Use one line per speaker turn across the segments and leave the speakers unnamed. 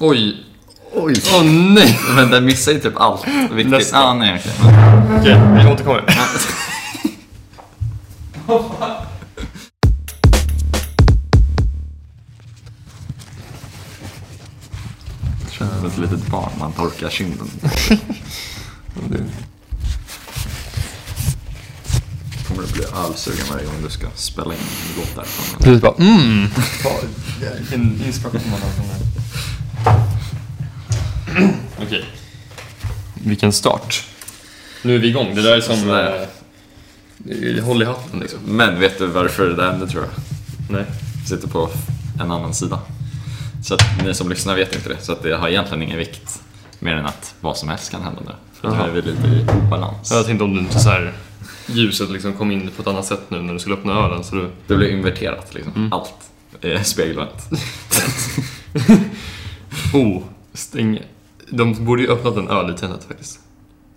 Oj.
Oj.
Åh nej.
Men den missar ju typ allt viktigt.
Nästa.
Ah, nej, okej.
Okej, vi återkommer.
Det känns som ett litet barn man torkar kinden. Kommer du bli ölsugen varje gång du ska spela in låtar från den?
Precis bara, mm.
Vilken inspiration man har från det här.
Okej. Vilken start. Nu är vi igång. Det där är som...
Sådär.
eh, det är Håll i hatten liksom.
Men vet du varför det hände tror jag?
Nej.
sitter på en annan sida. Så att ni som lyssnar vet inte det, så att det har egentligen ingen vikt. Mer än att vad som helst kan hända nu. För att nu
Jaha.
är vi lite i obalans.
Jag tänkte om du inte så här ljuset liksom kom in på ett annat sätt nu när du skulle öppna ölen så du...
Det blir inverterat liksom. Allt är spegelvänt.
Oh, stäng. De borde ju öppnat en öl i tennet faktiskt.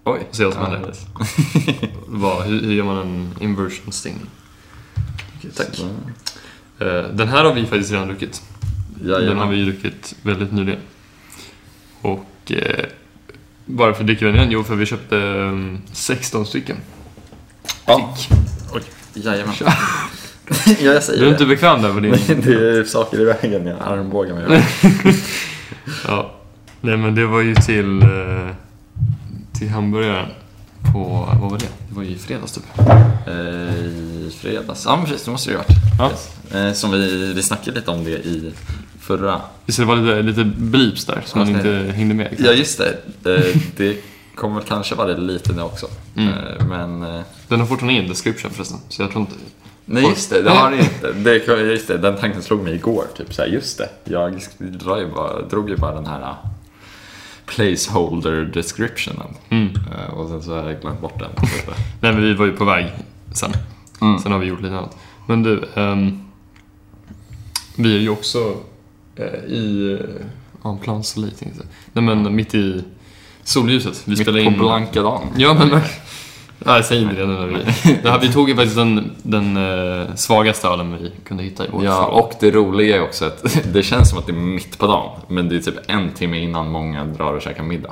Oj.
Se vad som
Ja,
händer.
precis.
Vad, hur, hur gör man en inversion sting? Tack.
Så,
Eh, Den här har vi faktiskt redan druckit. Den har
Jajamän.
vi ju druckit väldigt nyligen. Och eh, varför dricker vi den igen? Jo, för vi köpte eh, 16 stycken.
Ja. Oj. Jajamän.
Tja.
ja, jag säger
Du är inte
det.
bekväm där på din...
Men det är saker i vägen, jag armbågar mig.
Ja. Nej men det var ju till, eh, till hamburgaren på, vad var det? Det var ju i fredags typ.
Eh, I fredags. Ja, men precis. Det måste det ju ha varit.
Ja.
Eh, Som vi, vi snackade lite om det i förra
Visst det var lite, lite blips där som man
Ja,
inte
det-
hängde med?
Ja, just det. Eh, Det kommer kanske vara det lite nu också.
Mm.
Eh, Men... eh,
Den har fortfarande ingen description förresten, så jag tror inte...
Nej, just det. Det har ni inte. Det, just det. Den tanken slog mig igår. Typ så här, just det. Jag drar ju bara, drog ju bara den här eh, placeholder descriptionen.
Mm.
Eh, Och sen så har jag glömt bort den. Typ.
Nej men vi var ju på väg sen.
Mm.
Sen har vi gjort lite annat. Men du, ehm, vi är ju också eh, i... Uh, en plan Soleil tänkte jag säga. Nej men mitt i solljuset. Vi
Mitt
spelar
på
in...
blanka dagen.
Ja men... verk- Nej, säg inte det nu när vi... Det här, vi tog ju faktiskt den, den eh, svagaste ölen vi kunde hitta i vårt
Ja,
förråd.
och det roliga är också att det känns som att det är mitt på dagen. Men det är typ en timme innan många drar och käkar middag.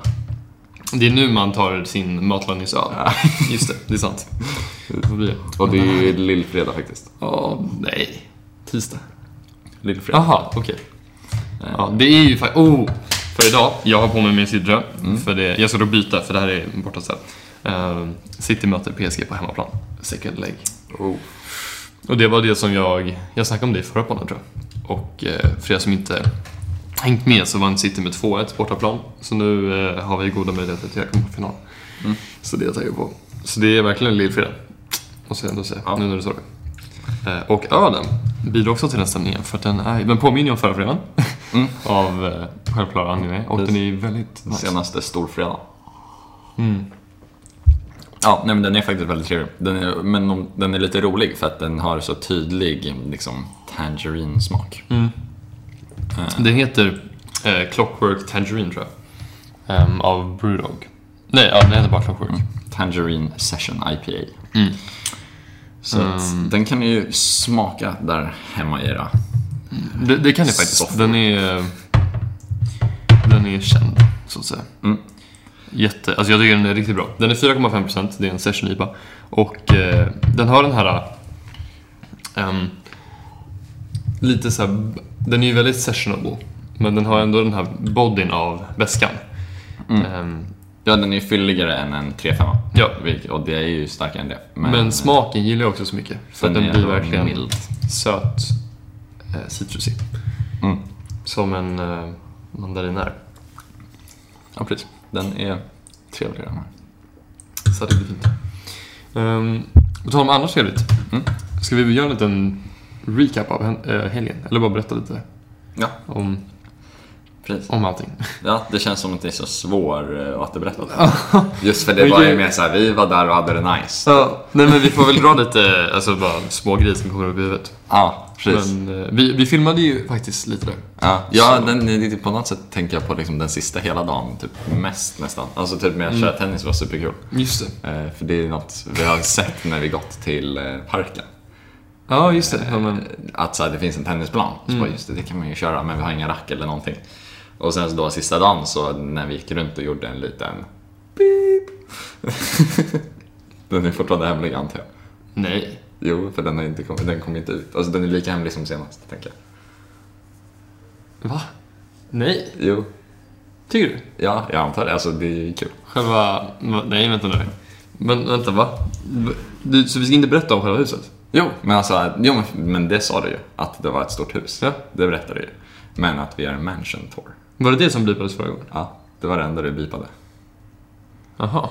Det är nu man tar sin matlagningsöl. Just det, det är sant. Vad blir det?
Och det är ju lillfredag faktiskt.
Ja, nej. Tisdag.
Lillfredag.
Jaha, okej. Ja, det är ju faktiskt... Oh! För idag, jag har på mig min sidra. För det, jag ska då byta, för det här är borta sen. Uh, City möter PSG på hemmaplan. Second leg.
Oh.
Och det var det som jag... Jag snackade om det i förra podden tror jag. Och eh, för er som inte hängt med så vann City med 2-1 på bortaplan. Så nu eh, har vi goda möjligheter till att komma till final.
Mm.
Så det tar jag på. Så det är verkligen en lillfredag. Måste jag ändå säga,
Ja.
nu när du sa det. Eh, och ölen bidrar också till den stämningen. För att den, är, den påminner ju om förra fredagen.
Mm.
av eh, självklara anledningar. Och den är ju väldigt nice. Mm.
senaste storfredagen. Ja, nej, men den är faktiskt väldigt trevlig. Den är, men om- den är lite rolig för att den har så tydlig liksom, tangerine-smak.
Mm. Det heter eh, Clockwork Tangerine tror jag. Ehm, av Brewdog. Nej, ja, den heter bara Clockwork.
Mm. Tangerine Session IPA.
Mm.
Så
Um.
att, den kan ni ju smaka där hemma i era.
Det, det kan det faktiskt.
Soft.
Den är... Den är känd, så att säga.
Mm.
Jätte... Alltså jag tycker den är riktigt bra. Den är 4,5%, det är en Session IPA. Och eh, den har den här... ehm, lite så här... b- Den är ju väldigt sessionable. Men den har ändå den här bodyn av väskan.
Mm.
Ehm,
Ja, den är ju fylligare än en 3-5.
Ja.
Vilket- Och det är ju starkare än det.
men, smaken gillar jag också så mycket. För att
Den
den
är
blir verkligen
mild.
söt, eh, citrusig.
Mm.
Som en eh, mandarin är.
Ja, precis. Den är trevligare än den här.
Så det blir fint. Um, på tal om annars trevligt.
Mm.
Ska vi göra en liten recap av hen- eh, helgen? Eller bara berätta lite
Ja,
om,
precis.
om allting.
Ja, det känns som att det är så svår eh, återberättelse. Just för det var
Men
ju
gud.
mer såhär, vi var där och hade det nice.
Ja, nej men vi får väl dra lite alltså, bara små grejer som kommer upp i huvudet.
Ja, precis.
Men eh, vi, vi filmade ju faktiskt lite där.
ja, ja den, det är på något sätt tänker jag på liksom den sista hela dagen, typ mest nästan. Alltså typ
Mm.
med att köra tennis var superkul.
Just det.
Eh, för det är något vi har sett när vi gått till eh, parken.
Ja, just det. Ja, men, Mm.
Att så här, det finns en tennisplan. Så bara, just det, det kan man ju köra, men vi har inga rack eller någonting. Och sen så då sista dagen så när vi gick runt och gjorde en liten beep. den är fortfarande hemlig antar jag.
Nej.
Jo, för den har inte kommit, den kom inte ut. Alltså den är lika hemlig som senast, tänker jag.
Va? Nej.
Jo,
Tycker du?
ja, jag antar det. Alltså det är ju kul.
Själva... Nej, vänta nu. Men vänta, va? Du, så vi ska inte berätta om själva huset?
Jo, men alltså, jo, men, men det sa du ju. Att det var ett stort hus.
Ja.
Det berättade du ju. Men att vi gör en mansion tour.
Var det det som blipades förra gången?
Ja, det var det enda du bipade.
Jaha.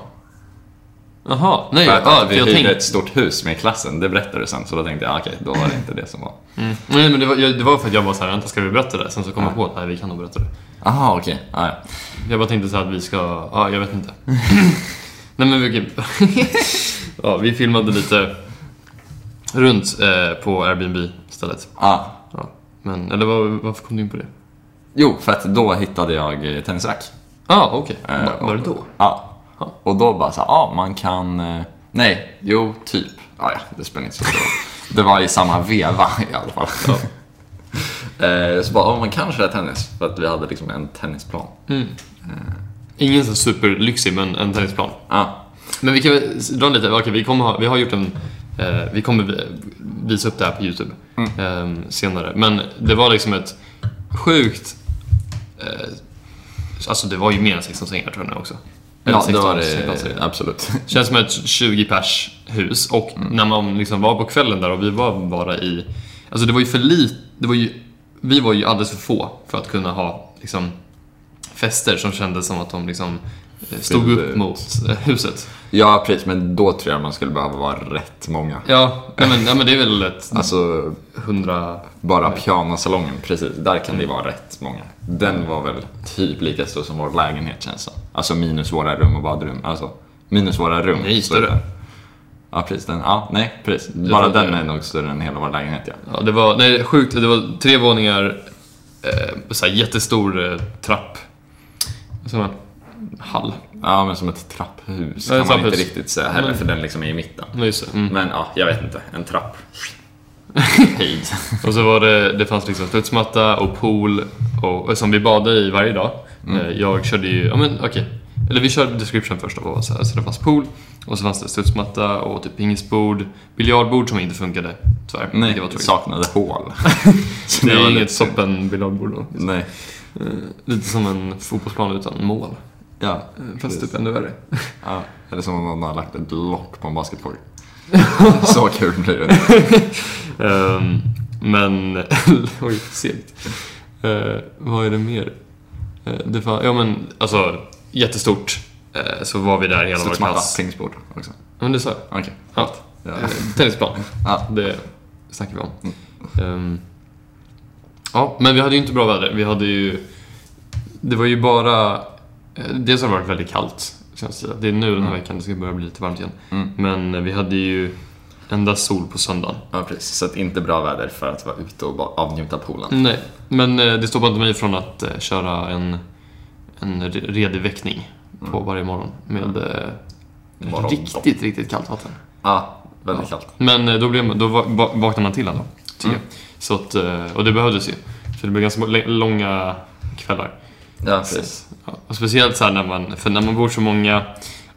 Jaha. Nej,
För att,
ja,
att
för
vi
jag
hyrde
tänkte...
ett stort hus med klassen, det berättade du sen. Så då tänkte jag, ah, okej, då var det inte det som var.
Mm. Nej, men det var, jag, det var för att jag bara såhär, vänta, ska vi berätta det? Sen så kom
Ja.
jag på att nej, vi kan nog berätta det.
Aha, okej. Ah, ja.
Jag bara tänkte så här att vi ska... Ja, jag vet inte. Nej men vi... ja, vi filmade lite runt eh, på Airbnb stället.
ah.
Ja. Men, eller var, varför kom du in på det?
Jo, för att då hittade jag eh, tennisrack.
Ja, ah, okej.
Eh,
Va- Var det då?
Ja.
Ja.
Och då bara så här, ja man kan... eh, Nej, jo, typ. Ja, ja, det spelar inte så stor roll. Det var i samma veva i alla fall. Eh, så bara, ja man kan köra tennis. För att vi hade liksom en tennisplan.
Ingen så superlyxig, men en tennisplan.
Ja,
Men vi kan väl dra lite, okej vi, kommer ha, vi har gjort en, eh, vi kommer vi- visa upp det här på Youtube
Mm.
eh, senare. Men det var liksom ett sjukt, eh, alltså det var ju mer än 16 sängar tror jag nu också. Eller
ja det var
16
det.
sängar.
Absolut.
Känns som ett 20 pers hus och
Mm.
när man liksom var på kvällen där och vi var bara i, alltså det var ju för lite, det var ju, vi var ju alldeles för få för att kunna ha liksom fester som kändes som att de liksom eh, stod
Fyllde
upp
ut.
mot eh, huset.
Ja, precis. Men då tror jag man skulle behöva vara rätt många.
Ja, nej men, nej men det är väl ett
Alltså,
hundra...
bara pianosalongen, precis. Där kan det vara rätt många. Den var väl typ lika stor som vår lägenhet känns det som. Alltså minus våra rum och badrum. Alltså, minus våra rum.
Nej,
Så är det.
större.
Ja, precis. Den, ja, nej, precis. Bara
tror det.
den är nog större än hela vår lägenhet, ja.
Ja, det var nej, sjukt. Det var tre våningar, eh, så här jättestor eh, trapp. Som en hall.
Ja, men som ett trapphus
Ja,
kan
ett
man inte
trapphus.
riktigt säga heller,
Men-
för den liksom är i mitten.
Ja, just det. Mm.
Men ja, jag vet inte. En trapp. Höjd.
Och så var det, det fanns liksom studsmatta och pool och, och som vi badade i varje dag.
Mm.
Eh, jag körde ju, ja men okej. Eller vi körde description först av så, här, så det fanns pool och så fanns det studsmatta och typ pingisbord, biljardbord som inte funkade tyvärr.
Nej,
det var tråkigt.
saknade hål. Så
Det
var
är
lite
inget
synd.
toppen biljardbord då.
Nej.
Eh, Lite som en fotbollsplan utan mål.
Ja,
Fast typ ännu värre.
Ja, eller som om någon har lagt ett lock på en basketboll. Så kul blir det.
Ehm, men, oj, segt. Eh, vad är det mer? Eh, det fan, ja men, alltså, jättestort. Eh, så var vi där hela vår
Studsmatta,
klass.
pingisbord också.
Ja, men det sa jag.
Okej.
Ja.
Ja.
Eh, Tennisplan,
Ja. Mm.
det snackar vi om. Ehm, ja, men vi hade ju inte bra väder. Vi hade ju... Det var ju bara... eh, Dels har det varit väldigt kallt, känns det. Det är nu den här veckan det ska börja bli lite varmt igen.
Mm.
Men eh, vi hade ju endast sol på söndagen.
ja, precis. Så att inte bra väder för att vara ute och bara avnjuta poolen.
Nej, men eh, det stoppade inte mig från att eh, köra en, en re- redig väckning på
Mm.
varje morgon med eh,
Morgon.
riktigt, riktigt kallt vatten.
Ja, väldigt kallt.
Men eh, då, blev, man- då va- va- vaknade man till ändå, tycker jag. Så att, eh, och det behövdes ju, för det blev ganska lä- långa kvällar.
Ja, precis.
Ja, och speciellt så här när man, för när man bor så många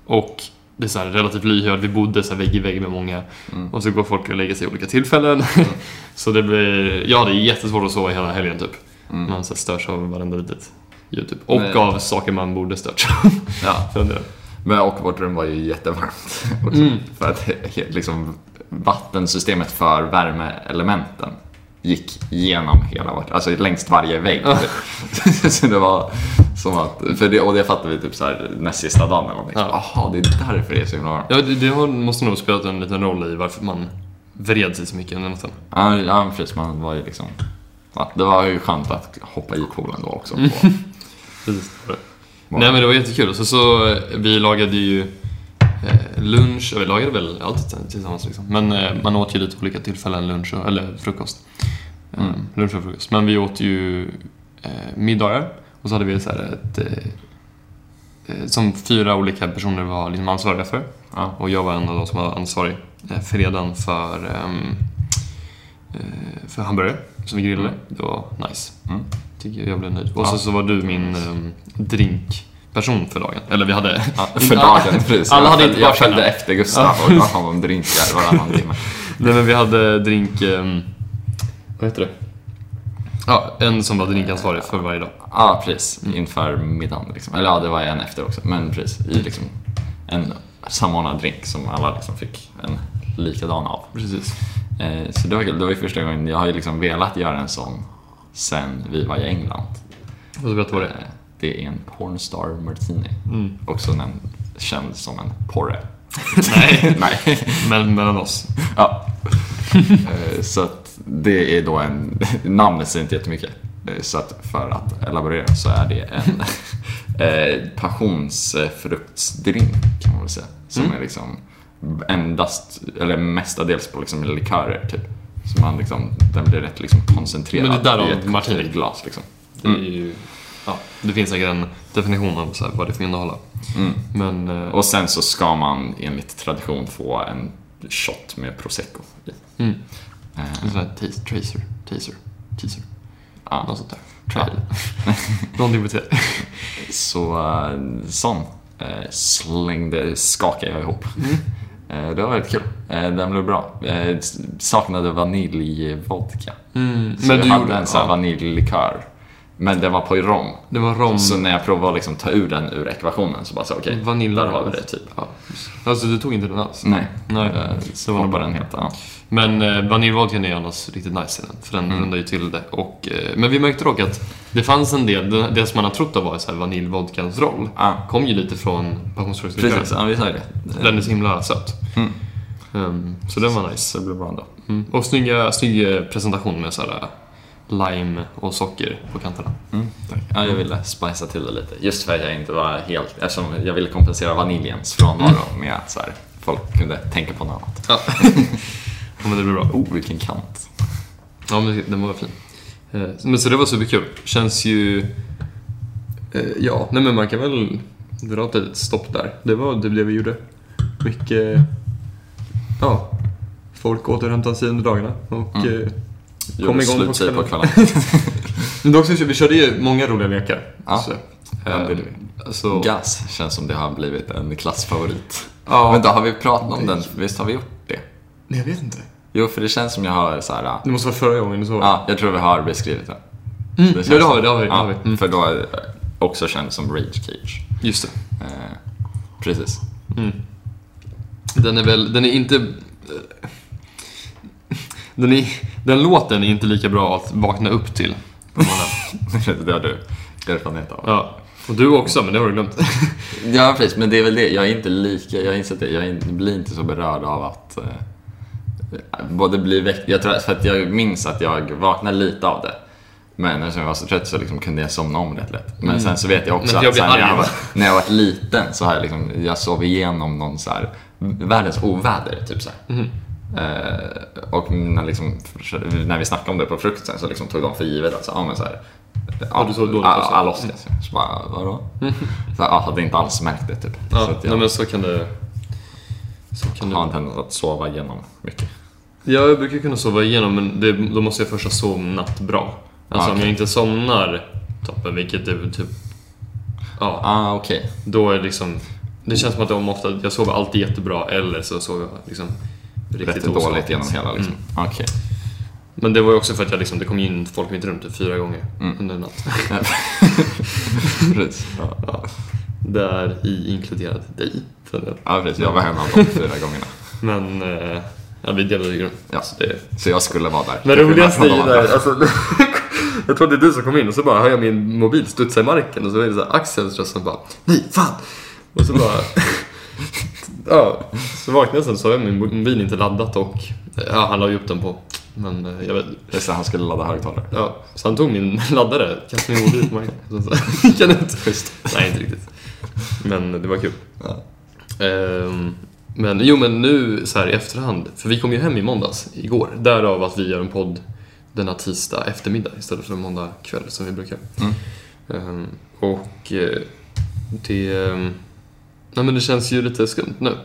och det är så här relativt lyhörd, vi bodde så här vägg i vägg med många
Mm.
och så går folk och lägger sig i olika tillfällen. så det blir, jag hade jättesvårt att sova hela helgen typ.
Mm.
Man så här störs av varenda litet ljud typ. Och
Nej.
av saker man borde stört
Ja.
av.
Men och vårt rum var ju jättevarmt. också.
Mm.
För att he- liksom, vattensystemet för värmeelementen gick genom hela vårt, alltså längst varje vägg.
Ja.
så det var som att, för det, och det fattade vi typ så här näst sista dagen eller någonting.
Ja.
Jaha, det är därför det är så himla varmt.
Ja, det, det har, måste nog spelat en liten roll i varför man vred sig så mycket under natten.
Ja, ja men precis. Man var ju liksom... Ja, det var ju skönt att hoppa i poolen då också.
Mm.
På,
Precis. Nej men det var jättekul. Och Så, så eh, vi lagade ju eh, lunch, och vi lagade väl allt tillsammans liksom. Men eh, man åt ju lite olika tillfällen lunch och, eller frukost. Eh,
Mm.
Lunch och frukost. Men vi åt ju eh, middagar och så hade vi så här ett eh, eh, som fyra olika personer var liksom ansvariga för.
ja.
Och jag var en av de som var ansvarig eh, fredagen för, ehm, eh, för hamburgare som vi grillade. Det var nice.
Mm.
tycker jag blev nöjd. Och
Ja.
så, så var du min ehm, drinkperson för dagen. Eller vi hade...
För dagen, precis.
Alla
Jag
hade
följde-
inte
Jag
varsin.
följde efter Gustav och gav honom drinkar varannan timme.
Nej men vi hade drink... ehm, vad heter det? Ja, en som var drinkansvarig för varje dag.
Ja, precis. Inför middagen. Liksom. Eller ja, det var en efter också. Men precis, i liksom en samordnad drink som alla liksom fick en likadan av.
Precis.
Eh, så det var kul. Det var ju första gången. Jag har ju liksom velat göra en sån sen vi var i England.
Och så berätta vad det är.
Eh, det är en Pornstar Martini.
Mm.
Också en, känd som en porre.
Nej,
Nej.
men mellan oss.
Ja. Eh, så att det är då en... Namnet säger inte jättemycket. Eh, Så att för att elaborera så är det en eh, passionsfruktsdrink kan man väl säga. Som
Mm.
är liksom endast, eller mestadels på liksom likörer typ. Så man liksom, den blir rätt liksom koncentrerad
Men det där
i
av
ett
martini.
glas liksom.
Det, är ju, ja, det finns säkert en definition av så här, vad det får innehålla.
Mm.
Men... eh,
Och sen så ska man enligt tradition få en shot med prosecco i.
Mm.
Eh,
En sån här tas- tracer, taser, teaser.
Ja.
Något sånt där. Trail. Någonting med T.
Så eh, sån eh, slängde, skakade jag ihop.
Mm.
Eh, Det var väldigt kul. Eh, Den blev bra. Eh, s- Saknade vaniljvodka.
Mm,
Så
men
jag
du
hade
gjorde
en sån här
ja.
vaniljlikör. Men den var på i rom.
Det var rom.
Så när jag provade att liksom ta ur den ur ekvationen så bara så okej,
Vanilla
där har vi
rom.
det typ.
Ja. Alltså du tog inte den alls?
Nej.
Nej,
Eh,
det
Så
var nog
var
bra.
den helt annan.
Men eh, vaniljvodkan är ju annars riktigt nice i den, för den
Mm.
rundar ju till det. Och, eh, men vi märkte dock att det fanns en del, det, det som man har trott har varit så här vaniljvodkans roll,
Ah,
kom ju lite från passionsfruktslikören.
precis, ja, vi sa ju det.
Den är så himla söt.
Mm.
Ehm, så den var nice.
Så det blev bra ändå.
Mm. Och snygga, snygg eh, presentation med så här eh, lime och socker på kanterna.
Ja, jag ville spicea till det lite. Just för att jag inte var helt... Eftersom jag ville kompensera vaniljens frånvaro
Mm.
med att så här, folk kunde tänka på något annat.
Ja. men det blir bra.
Oh, vilken kant.
Ja, men den var fin. Eh, Men så det var superkul. Känns ju... eh, Ja, nej men man kan väl dra ett litet stopp där. Det var typ det, det vi gjorde. Mycket... Ja. Folk återhämtade sig under dagarna och...
Mm.
eh,
Gjorde
igång på
slut sig på kvällen.
Men dock så vi körde ju många roliga lekar.
Ja.
Så,
Ja, det är
eh, så,
Gas känns som det har blivit en klassfavorit.
ja.
Men då har vi pratat om den. Visst har vi gjort det?
Nej, jag vet inte.
Jo, för det känns som jag har så här... ah,
Det måste vara förra gången du såg
Ja, jag tror vi har beskrivit den.
Mm.
känns
Ja, det har vi.
som-
Det har vi, det har vi.
ja,
Mm.
För då är det också känd som Rage Cage.
Just det.
Eh, precis.
Den är väl, den är inte... eh, Den, är, den låten är inte lika bra att vakna upp till. på morgonen.
det har du erfarenhet av.
Ja. Och du också, men det har du glömt.
Ja precis, men det är väl det. Jag är inte lika, jag har insett det. Jag är in- blir inte så berörd av att eh, både bli väckt, jag tror för att jag minns att jag vaknade lite av det. Men eftersom jag var så trött så liksom kunde jag somna om rätt lätt. Men sen så vet jag också
Mm. Men jag blir
att sen när,
arg.
jag var, när jag var liten så har jag liksom, jag sov igenom någon så här, världens oväder typ så här.
Mm.
Eh, och mina liksom, när vi snackade om det på frukosten så liksom tog de för givet att så, ja, men så här, ja,
du såg dåligt
ja,
också.
Alaska. Så bara, vadå? Så här, ja, hade inte alls märkt det typ. så
Ja,
att
nej,
jag
men så kan det... Så kan
har
det.
en tendens att sova igenom mycket.
Jag brukar kunna sova igenom, men det, då måste jag först ha somnat bra. Alltså
Ah,
om
okej.
jag inte somnar toppen, vilket är typ... Ja,
Ah, okej.
då är det liksom... Det känns som att om ofta, jag sover alltid jättebra eller så sover jag liksom riktigt
Rätt dåligt
osmakligt. Mm.
genom hela liksom. Okej.
Men det var ju också för att jag liksom, det kom in folk i mitt rum typ fyra gånger
Mm.
under en natt.
Precis. Ja.
Där i inkluderade dig. för det.
ja, precis. Jag var hemma de fyra gångerna.
Men eh, ja, vi delade ju rum.
Ja.
Så det...
Så jag skulle vara där.
Men
Till
roligast är
skillnad
ju
från
där,
de andra.
alltså, jag tror det är du som kom in och så bara hör jag min mobil studsa i marken och så är det så här Axels röst som bara Nej, fan! Och så bara... ja, så vaknade jag sen så har jag min mobil inte laddat och ja, han la ju upp den på... Men eh, jag vet
Just det, han skulle ladda högtalare.
Ja, så han tog min laddare, kastade min mobil på marken. Så- så gick han ut. Nej, inte riktigt. Men det var kul.
Ja.
Ehm, men jo, men nu så här i efterhand, för vi kom ju hem i måndags, igår. Därav att vi gör en podd denna tisdag eftermiddag istället för måndag kväll som vi brukar.
Mm.
Ehm, och eh, det... ehm, Nej men det känns ju lite skumt nu.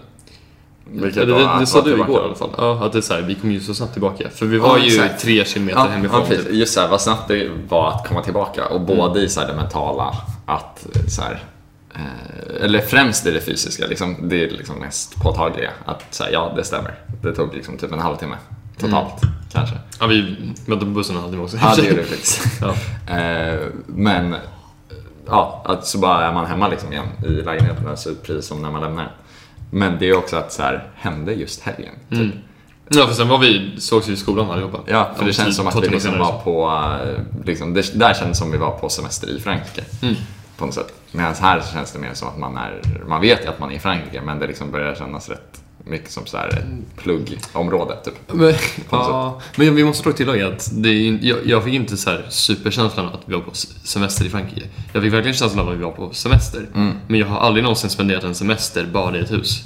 Vilket
Eller
var
det, det
att
sa
vara
du
tillbaka.
igår i alla fall. Ja, att det är så här, vi kommer ju så snabbt tillbaka. För vi var
Ja,
ju
exakt.
tre kilometer
Ja,
hemifrån.
ja, precis.
typ. Mm.
Just såhär, vad snabbt det var att komma tillbaka. Och både i såhär, det mentala, att såhär, eh, eller främst i det fysiska, liksom, det är liksom mest påtagliga. Att såhär, ja, det stämmer. Det tog liksom typ en halvtimme totalt,
Mm.
kanske.
Ja, vi väntade på bussen en halvtimme också.
Ja, det gjorde det faktiskt.
Ja.
Eh, men ja, att så bara är man hemma liksom igen i lägenheten, alltså precis som när man lämnar den. Men det är också att så här, hände just helgen. Typ.
Ja, för sen var vi, sågs vi i skolan allihopa.
Ja, för
Om
det känns
typ
som att
två
vi
timmar
liksom
senare.
var på, eh, liksom, det, där kändes som vi var på semester i Frankrike.
Mm.
På något sätt. Medan här så känns det mer som att man är, man vet ju att man är i Frankrike men det liksom börjar kännas rätt mycket som så här ett pluggområde typ.
Men,
På något
ja, men vi måste dock tillägga att det är, ju- jag, jag fick inte så här superkänslan att vi var på s- semester i Frankrike. Jag fick verkligen känslan av att vi var på semester. Men jag har aldrig någonsin spenderat en semester bara i ett hus.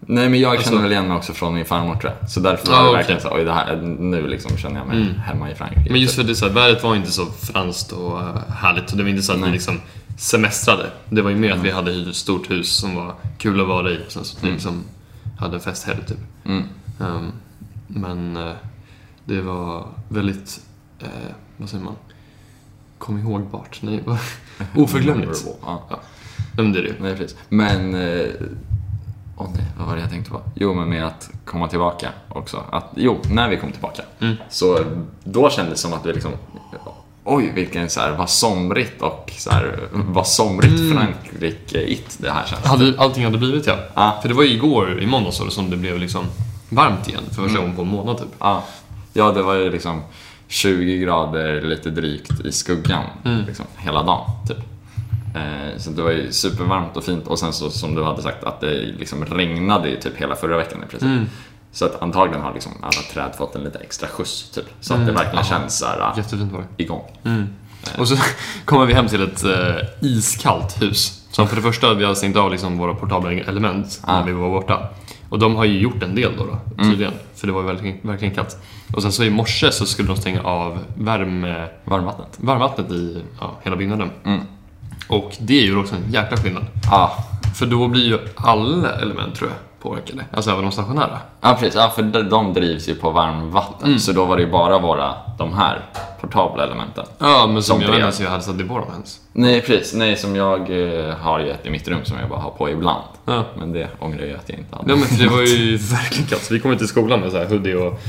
Nej men jag
Alltså-
känner väl igen mig också från min farmor tror jag. Så
Ja,
därför var det
okej. Mm.
verkligen så här, oj det här, nu liksom känner jag mig hemma i Frankrike.
Men just
typ.
för det, så här, vädret var inte så franskt och eh, härligt och det var inte så att vi liksom semestrade. Det var ju mer att vi hade hyrt ett stort hus som var kul att vara i och sen så att vi liksom hade en festhelg typ.
Mm.
Ehm, men eh, det var väldigt, eh, vad säger man, kom ihågbart. Nej, vad- oförglömligt.
Ja.
Nej, men det är det ju.
Nej, precis. Men... eh, Åh nej, vad var det jag tänkte på? Jo, men med att komma tillbaka också. Att, jo, när vi kom tillbaka. Så då kändes det som att vi liksom... Oj, vilken så här, vad somrigt och så här, vad somrigt Frankrike-igt det här känns.
Hade, allting hade blivit ja.
Ja.
För det var ju igår, i måndags var det som det blev liksom varmt igen för första gången på en månad typ.
Ja, ja det var ju liksom 20 grader lite drygt i skuggan liksom, hela dagen. Typ. Eh, så det var ju supervarmt och fint och sen så som du hade sagt att det liksom regnade ju typ hela förra veckan i princip. Så att antagligen har liksom alla träd fått en lite extra skjuts typ. Så att det verkligen känns såhär ah,
Jättefint var det.
igång.
Och så kommer vi hem till ett eh, iskallt hus. Som för det första, vi hade stängt av liksom våra portabla element när
Ah.
vi var borta. Och de har ju gjort en del då, då
Mm.
tydligen. För det var ju verkligen, verkligen kallt. Och sen så i morse så skulle de stänga av värme,
Varmvattnet.
varmvattnet i ja, hela byggnaden.
Mm.
Och det är ju också en jäkla skillnad.
Ja,
För då blir ju alla element tror jag påverkade. Alltså även de stationära.
Ja precis, ja, för de- de drivs ju på varmvatten. Så då var det ju bara våra, de här portabla elementen.
Ja, men som
Som
jag
det.
vet inte så jag hade satt i dem ens.
Nej precis, nej som jag eh, har ju ett i mitt rum som jag bara har på ibland.
Ja.
Men det ångrar jag att jag inte hade.
Ja men för det var ju verkligen kallt. Så vi kom ut till skolan med så här hoodie och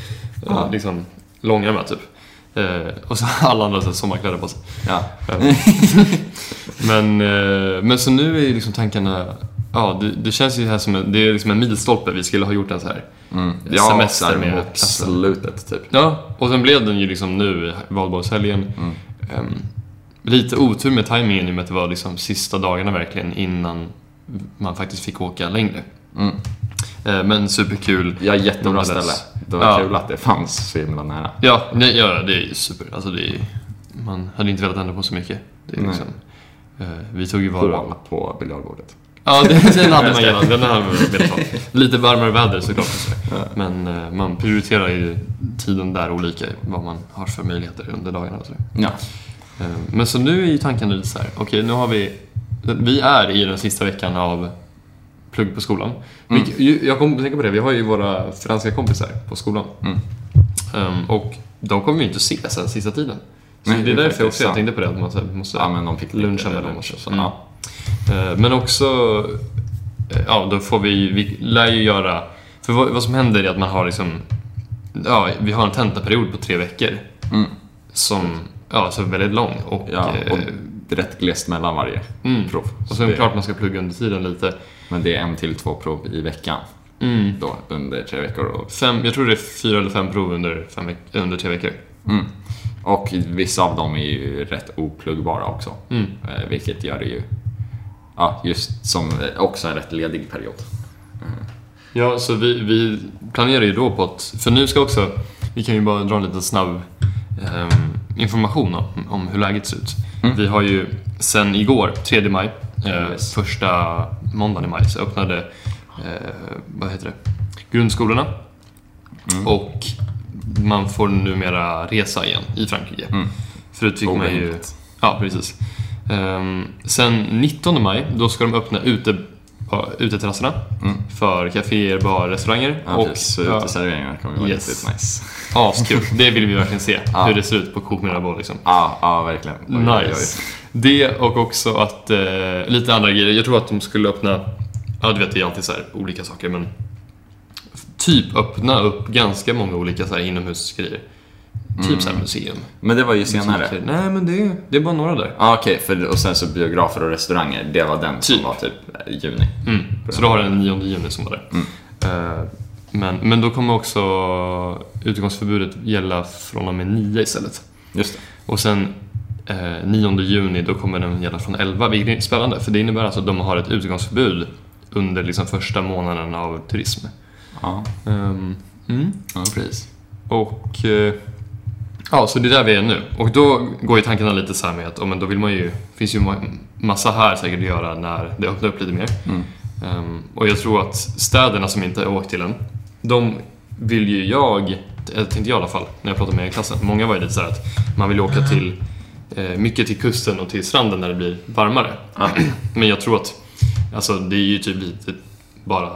ja. liksom långärmar typ. Eh, och så har alla andra så här sommarkläder på sig.
Ja.
Eh, men, eh, men så nu är ju liksom tankarna, ja det, det känns ju här som en, det är liksom en milstolpe. Vi skulle ha gjort en så här.
Mm.
Ja, semester
så här
med
mot
klassen.
slutet typ.
Ja, och sen blev den ju liksom nu i valborgshelgen. Ehm, lite otur med tajmingen i och med att det var liksom sista dagarna verkligen innan man faktiskt fick åka längre.
Mm.
Eh, men superkul.
Ja, jättebra ställe.
Nonetheless.
Det var
Ja.
kul att det fanns så himla nära.
Ja, nej, ja det är ju super. Alltså det är, man hade inte velat ändra på så mycket. Det är
Nej.
liksom, eh, vi tog ju vara...
Hål på biljardbordet.
Ja, det, den hade man gärna. Den hade man velat ha. Lite varmare väder såklart. Men eh, man prioriterar ju tiden där olika, vad man har för möjligheter under dagarna och sådär.
Ja.
Eh, Men så nu är ju tanken lite så här, okej nu har vi, vi är i den sista veckan av plugg på skolan.
Mm.
Vilket- ju- Jag kom att tänka på det, vi har ju våra franska kompisar på skolan.
Mm.
Ehm, och de kommer ju inte ses den sista tiden. Så det
Nej,
är
det är
därför jag
faktiskt
också jag
sant.
tänkte på det, att man så här, måste
ja, men de fick
luncha med dem.
lunch
Och så.
Mm.
Mm. Eh, Men också, eh, ja då får vi, vi lär ju göra, för vad, vad som händer är att man har liksom, ja vi har en tentaperiod på tre veckor
Mm.
som ja, så väldigt lång. Och,
Ja, och
eh,
det är rätt glest mellan varje
Mm.
prov.
och sen
det,
klart man ska plugga under tiden lite.
Men det är en till två prov i veckan
Mm.
då under tre veckor. Och,
Fem, jag tror det är fyra eller fem prov under, fem, veck- under tre veckor.
mm. och vissa av dem är ju rätt oplugbara också.
Mm.
Eh, Vilket gör det ju ja, just som eh, också en rätt ledig period.
Ja, så vi, vi planerar ju då på att, för nu ska också, vi kan ju bara dra en liten snabb ehm, information om, om hur läget ser ut.
Mm.
Vi har ju sen igår, 3 maj, eh,
Yes.
första måndagen i maj, så öppnade, eh, vad heter det, grundskolorna.
Mm.
Och man får numera resa igen i Frankrike.
Mm.
Förut fick man ju...
Orimligt.
Ja, precis. Ehm, sen 19 maj, då ska de öppna ute på uteterrasserna för kaféer, barer, restauranger.
Mm. Ja, precis. Så
ja,
uteserveringarna kommer ju vara
Yes.
riktigt nice.
askul. Det vill vi verkligen se,
Ja.
hur det ser ut på Coop Mirabeau liksom.
Ja, ja verkligen. Oj, oj, oj.
Nice. Det och också att eh, lite andra grejer. Jag tror att de skulle öppna, ja du vet det är alltid så här olika saker men typ öppna upp ganska många olika så här inomhusgrejer. Typ så här museum.
Men det var ju Mm. senare.
Som- Nej men det, det är bara några där.
Ja, okej. för- och sen så biografer och restauranger. Det var den
Typ.
som var typ eh, i juni.
Mm. Så då har den 9 juni som var där. Eh, men, men då kommer också utgångsförbudet gälla från och med 9 istället.
Just det.
Och sen eh, 9 juni då kommer den gälla från 11, vilket är spännande. För det innebär alltså att de har ett utgångsförbud under liksom första månaden av turism.
Ja,
Ehm, mm.
ja precis.
Och eh, ja, så det är där vi är nu. Och då går ju tankarna lite så här med att oh, men då vill man ju, finns ju ma- massa här säkert att göra när det öppnar upp lite mer.
Mm.
Ehm, och jag tror att städerna som inte har åkt till än, de vill ju jag, eller tänkte jag i alla fall, när jag pratade med klassen, många var ju lite så här att man vill ju åka till, eh, mycket till kusten och till stranden när det blir varmare. Men jag tror att, alltså det är ju typ lite bara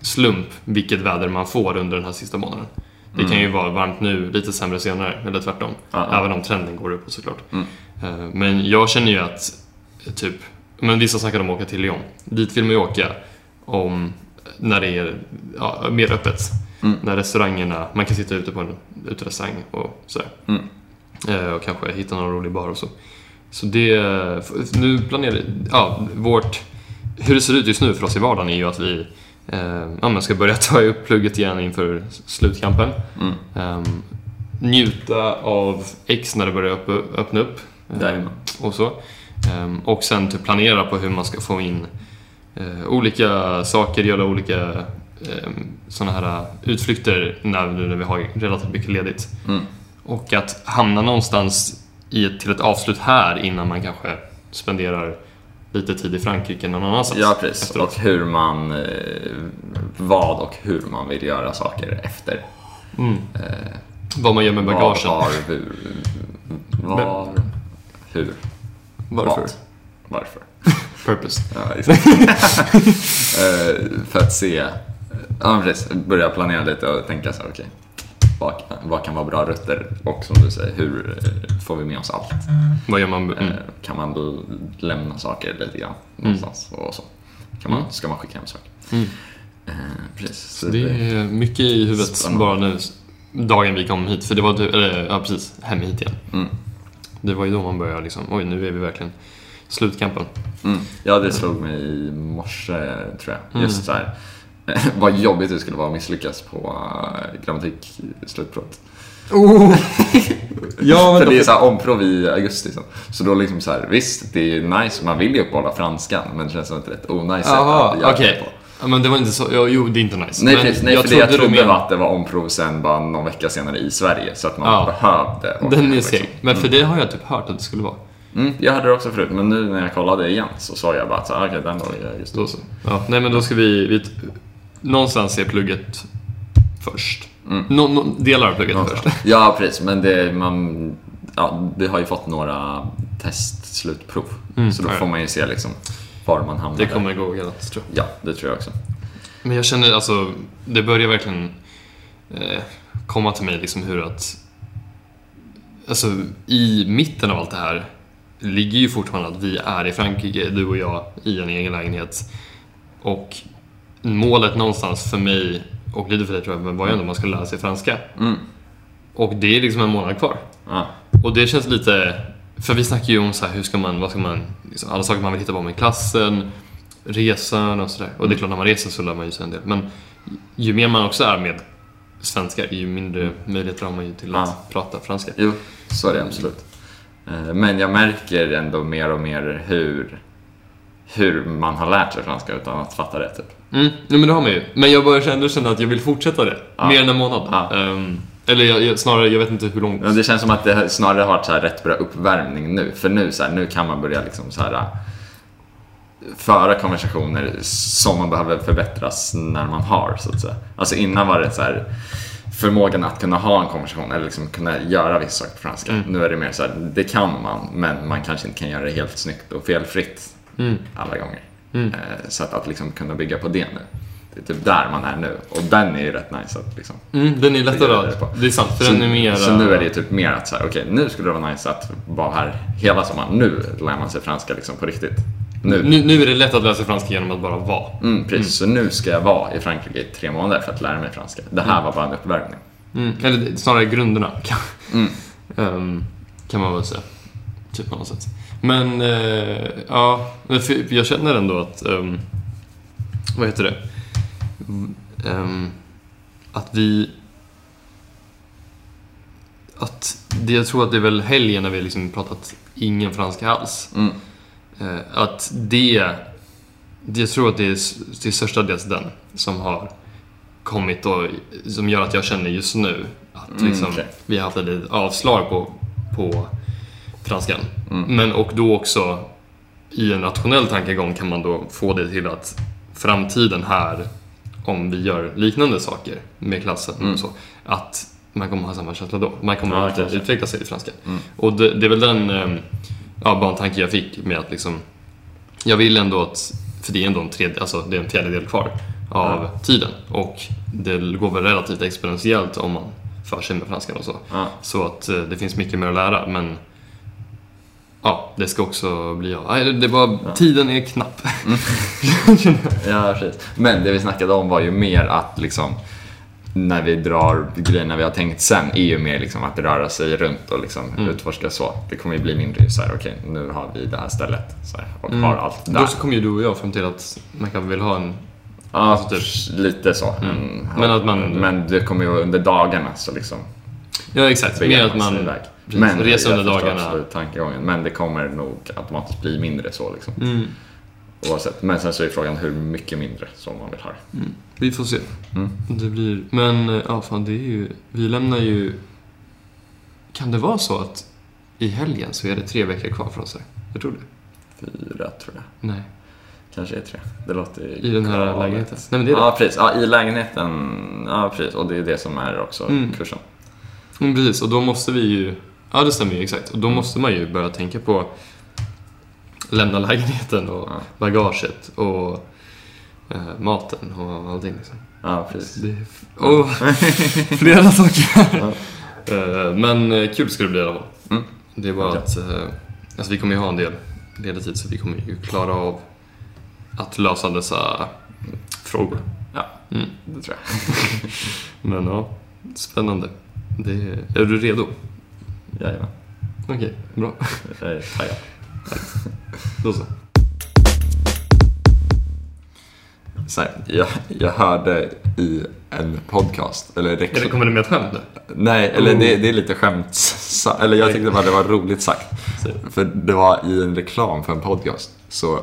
slump vilket väder man får under den här sista månaden. Det kan ju vara varmt nu, lite sämre senare, eller tvärtom.
Ja, ja.
Även om trenden går uppåt såklart.
Mm.
Eh, Men jag känner ju att, eh, typ, men vissa snackar om att åka till Lyon. Dit vill man ju åka om, när det är ja, mer öppet.
Mm.
När restaurangerna, man kan sitta ute på en uterestaurang och sådär.
Mm.
Eh, Och kanske hitta någon rolig bar och så. Så det, nu planerar, ja, vårt, hur det ser ut just nu för oss i vardagen är ju att vi eh, ja, men ska börja ta upp plugget igen inför slutkampen.
Mm.
Ehm, njuta av X när det börjar upp, öppna upp. Ehm,
Där är man.
och så. Ehm, och sen typ planera på hur man ska få in eh, olika saker, göra olika eh, sådana här utflykter när, nu när vi har relativt mycket ledigt.
Mm.
Och att hamna någonstans i ett, till ett avslut här innan man kanske spenderar lite tid i Frankrike någon annanstans.
Ja, precis.
efteråt.
Och hur man... eh, Vad och hur man vill göra saker efter.
Mm.
Eh,
Vad man gör med bagagen.
Var, var, hur, var, hur,
Varför?
vad, varför.
Purpose.
Ja, exakt. Eh, för att se, eh, ja precis, börja planera lite och tänka så här, okej. vad, vad kan vara bra rutter? Och som du säger, hur eh, får vi med oss allt?
Vad gör man? Mm.
Eh, Kan man l- lämna saker lite grann någonstans och så? Kan man, ska man skicka hem saker?
Mm.
Eh, precis. Så
Det
blir-
är mycket i huvudet
Spännande.
bara nu, dagen vi kom hit. För det var du, eller ja precis, hem hit igen.
Mm.
Det var ju då man började liksom, oj nu är vi verkligen slutkampen.
Mm. Ja, det slog mig i morse, tror jag.
Mm.
Just så här. Vad jobbigt det skulle vara att misslyckas på eh, grammatikslutprovet. Oh!
Ja,
För det är så här omprov i augusti sen. Så då liksom så här, visst, det är ju nice, man vill ju uppehålla franskan, men det känns som ett rätt onajs sätt
Jaha,
att göra det
okej.
på.
Ja, men det var inte så, ja, jo det är inte nice.
Nej,
men
precis, nej för det jag
du
trodde
menade-
var att det var omprov sen bara någon vecka senare i Sverige, så att man
Ja.
behövde. åka hem,
Den är
liksom.
seg. Men för det har jag typ hört att det skulle vara.
Mm, jag hade det också förut, men nu när jag kollade igen så såg jag bara att så här, okej, den var i augusti.
Då så. Ja, nej men då ska vi, vi någonstans är plugget först.
Mm.
Nå, nå, delar av plugget är först.
Ja, precis. Men det, man, ja, vi har ju fått några testslutprov.
Mm,
så då
ja, ja.
får man ju se liksom var man hamnar.
Det
där.
kommer gå galant tror jag.
Ja, det tror jag också.
Men jag känner alltså, det börjar verkligen eh, komma till mig liksom hur att Alltså i mitten av allt det här ligger ju fortfarande att vi är i Frankrike, du och jag, i en egen lägenhet. Och målet någonstans för mig, och lite för dig tror jag, men var ju ändå att man ska lära sig franska.
Mm.
Och det är liksom en månad kvar.
Ja,
Och det känns lite, för vi snackar ju om så här, hur ska man, vad ska man, liksom, alla saker man vill hitta på med klassen, resan och sådär. Och det är klart, när man reser så lär man ju sig en del. Men ju mer man också är med svenskar, ju mindre möjligheter har man ju till att
Ja.
prata franska.
jo, så är det absolut. Eh, Men jag märker ändå mer och mer hur, hur man har lärt sig franska utan att fatta det. Typ.
Mm, nej, men det har man ju. Men jag börjar ändå känna att jag vill fortsätta det,
Ja.
mer än en månad.
Ja.
Ehm, eller jag, jag, snarare, jag vet inte hur långt.
Ja, Det känns som att det snarare har varit så här rätt bra uppvärmning nu. För nu, så här, nu kan man börja liksom så här, äh, föra konversationer som man behöver förbättras när man har. Så att säga. Alltså innan var det så här, förmågan att kunna ha en konversation eller liksom kunna göra vissa saker på franska. Nu är det mer så här, det kan man, men man kanske inte kan göra det helt snyggt och felfritt
Mm.
alla gånger.
Mm.
Eh, Så att, att liksom kunna bygga på det nu. Det är typ där man är nu. Och den är ju rätt nice att liksom...
Mm, den är lättare
Jag gillar det på.
att... Det är sant, för
så,
den är mer...
så nu är det ju typ mer att så här, okej nu skulle det vara nice att vara här hela sommaren. Nu lär man sig franska liksom på riktigt. Nu.
Nu, nu är det lätt att lära sig franska genom att bara vara.
Mm, precis, så nu ska jag vara i Frankrike i tre månader för att lära mig franska. Det här var bara en uppvärmning.
Mm. Eller snarare grunderna. kan-
Mm.
Ehm, kan man väl säga. Typ på något sätt. Men eh, ja, men för- jag känner ändå att... ehm, vad heter det? Mm, ehm, att vi... Att det, jag tror att det är väl helgen när vi liksom pratat ingen franska alls.
Mm.
Eh, att det, det... Jag tror att det är s- till största dels den som har kommit och som gör att jag känner just nu att
Mm,
liksom,
okej.
vi har haft ett litet avslag på, på franskan.
Mm.
Men och då också i en rationell tankegång kan man då få det till att framtiden här, om vi gör liknande saker med klassen
Mm.
och så, att man kommer ha samma känsla då. Man kommer
Ja,
verkligen
kanske.
utveckla sig i franskan.
Mm.
Och det, det är väl den eh, ja, bara en tanke jag fick med att liksom, jag vill ändå att, för det är ändå en, tredje, alltså, det är en fjärdedel kvar av
Ja.
tiden och det går väl relativt exponentiellt om man för sig med franskan och så.
Ja.
Så att eh, det finns mycket mer att lära, men ja, det ska också bli av. Nej, det är bara,
Ja.
tiden är knapp.
Ja, precis. Men det vi snackade om var ju mer att liksom när vi drar grejerna vi har tänkt sen är ju mer liksom att röra sig runt och liksom
Mm.
utforska så. Det kommer ju bli mindre så här, okej nu har vi det här stället så här, och har Mm. allt där.
Mm. Då så kommer ju du och jag fram till att man kanske vill ha en...
Ja,
Alltså,
typ. lite så. Mm.
Men att man-
men det kommer ju under dagarna så liksom
Ja, exakt. Mer
beger
att
sig
man...
iväg.
precis, resa
jag
under
förstår
dagarna.
absolut tankegången. Men det kommer nog automatiskt bli mindre så liksom.
Mm,
Oavsett. Men sen så är frågan hur mycket mindre som man vill ha det.
vi får se.
Mm.
Det blir... Men eh, ja, fan, det är ju... Vi lämnar ju... Kan det vara så att i helgen så är det tre veckor kvar för oss här? Jag tror det.
Fyra tror jag.
Nej,
Kanske är tre. Det låter ju
i den här
galet.
lägenheten. Nej, men det är det.
Ja, precis. Ja, i lägenheten. Ja, precis. Och det är det som är också
Mm.
kursen.
Mm, precis, och då måste vi ju... Ja, det stämmer ju exakt. Och då måste man ju börja tänka på lämna lägenheten och
Ja.
bagaget och eh, maten och allting. Liksom.
Ja, precis.
Det är f- och flera saker.
Ja.
Eh, men eh, kul ska det bli i alla fall.
Mm.
Det är bara
Ja.
att... Eh, alltså vi kommer ju ha en del ledig tid så vi kommer ju klara av att lösa dessa frågor.
Ja,
Mm.
det tror jag.
Men ja, spännande. Det är, är du redo?
Jajamän.
Okej, bra.
Jag är taggad.
Då så.
Så här, jag, jag hörde i en podcast, eller
Är det,
reklam...
kommer det med ett skämt nu?
Nej, eller det, det är lite skämt. Eller jag tyckte bara det var roligt sagt. För det var i en reklam för en podcast så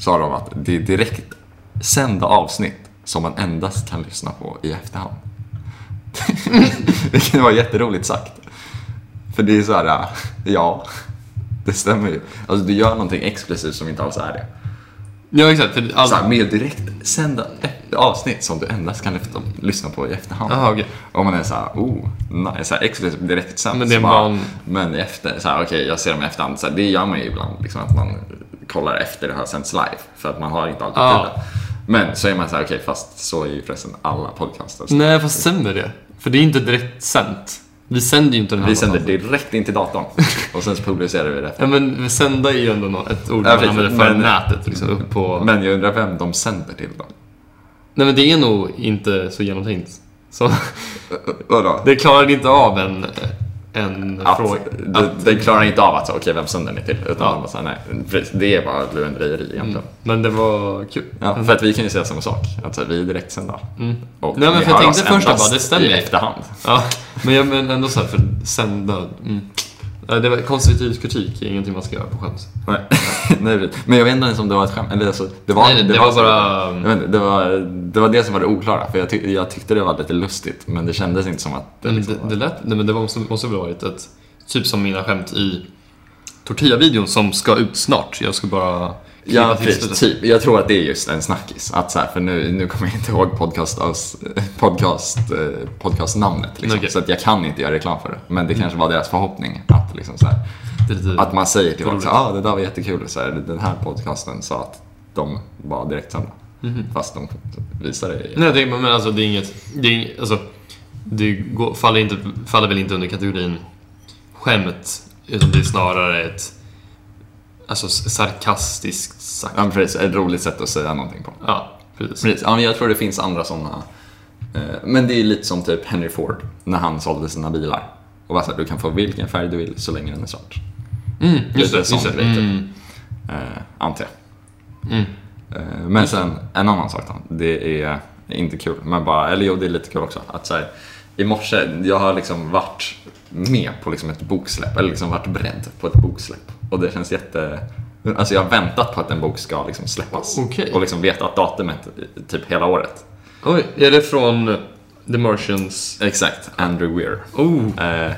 sa de att det är direkt sända avsnitt som man endast kan lyssna på i efterhand. Vilket var jätteroligt sagt. För det är så här, äh, ja, det stämmer ju. Alltså du gör någonting exklusivt som inte alls är det.
Ja, exakt. För all...
Så här, med direkt sända e- Alltså, avsnitt som du endast kan lyft- lyssna på i efterhand.
Aha, Ah, okej.
Om man är såhär, oh, nice, såhär exklusivt direkt sen.
Men det är
så bara-
man-
Men efter, såhär, okej jag ser dem i efterhand. Såhär, det gör man ju ibland, liksom, att man kollar efter det har sänts live. För att man har inte alltid
Ja.
tiden. Men så är man såhär, okej fast så är ju förresten alla podcaster.
Nej, fast sänder det? För det är inte direkt sänt. Vi sänder ju inte den här
Vi sänder
någonstans.
direkt in till datorn och sen så publicerar vi det efter.
Ja, men sända är ju ändå nå- ett ord
Ja,
man
precis.
använder för
Men-
nätet. Liksom, upp på...
Men jag undrar vem de sänder till då?
Nej, men det är nog inte så genomtänkt. Så
Ö- ö- Vadå?
det klarar inte av en, en
att,
fråga.
det- Den klarar inte av att säga okej, vem sänder ni till? Utan
Ja. Mm.
man bara så här, nej, precis, det är bara ett lurendrejeri egentligen.
Men det var kul.
Ja, för att vi kan ju säga samma sak, att så här, vi är direktsända.
Mm.
Och
Nej, men
vi
för jag
hör
tänkte
oss
först att
endast
bara, det stämmer
i
ju.
efterhand.
Ja, men jag men ändå så här för sända... Mm. Ja, Det var konstruktiv kritik, är ingenting man ska göra på skämt.
Nej. Nej, precis. men jag vet inte ens om det var ett skämt. Eller alltså, det var,
Nej, det var bara-
Jag vet inte, det, var, det var det som var det oklara, för jag, tyck, jag tyckte det var lite lustigt, men det kändes inte som att det
Men
liksom
Mm, det,
var...
det lät, nej men det måste, måste väl varit ett, typ som mina skämt i Tortilla-videon som ska ut snart. Jag ska bara klippa
Ja,
till
precis.
slutet.
Typ. Jag tror att det är just en snackis. Att så här, för nu, nu kommer jag inte ihåg podcast, podcast, eh, podcastnamnet. Liksom.
Okej.
Så att jag kan inte göra reklam för det. Men det kanske var deras förhoppning. Att, liksom, så här,
Det är lite-
att man säger till folk
roligt.
att ah, det där var jättekul. Så här, den här podcasten sa att de var direktsända. Fast de visade det i...
Nej, jag tänker, bara, men alltså det är inget... Det, är, inget- alltså, det går, faller, inte, faller väl inte under kategorin skämt, utan det är snarare ett alltså, s- sarkastiskt sagt.
Ja, men precis. Ett roligt sätt att säga någonting på.
Ja, precis.
Precis. Ja, men jag tror det finns andra sådana. Men det är lite som typ Henry Ford när han sålde sina bilar. Och bara så här, du kan få vilken färg du vill så länge den är svart.
Mm, just
Lite
det, just
sån
det.
grej, typ.
Mm,
Eh, antar jag.
mm.
Eh, Men sen en annan sak då. Det är inte kul, men bara, eller jo det är lite kul också. Att så här, I morse, jag har liksom varit med på liksom ett boksläpp, eller liksom varit beredd på ett boksläpp. Och det känns jätte... Alltså jag har väntat på att en bok ska liksom släppas.
Okej.
Och liksom vetat datumet i- typ hela året.
Oj, är det från The Martians?
Exakt, Andrew Weir.
Oh,
Eh,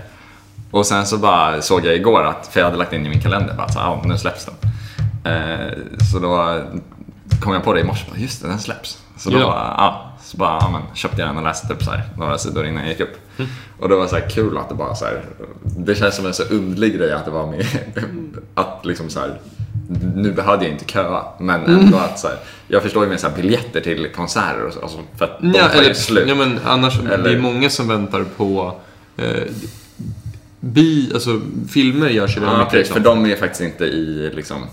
och sen så bara såg jag igår att, för jag hade lagt in i min kalender, bara så, här, ah, nu släpps den. Eh, så då kom jag på det i morse, bara, just det, den släpps. Så då
Ja.
bara, ja, så bara, ja, men, köpte jag den och läste typ så här, några sidor innan jag gick upp.
Mm.
Och det var så här kul att det bara så här, det känns som en så underlig grej att det var med, att liksom så här, nu behövde jag inte köa, men ändå
Mm.
att så här, jag förstår ju med så här biljetter till konserter och så, alltså, för att de
Ja,
tar ju
eller,
slut.
ja, men annars, det
Eller-
är många som väntar på eh, bi, alltså filmer görs ju redan
Ja,
mycket liksom.
precis, Ah, för
reklam.
de är faktiskt inte i liksom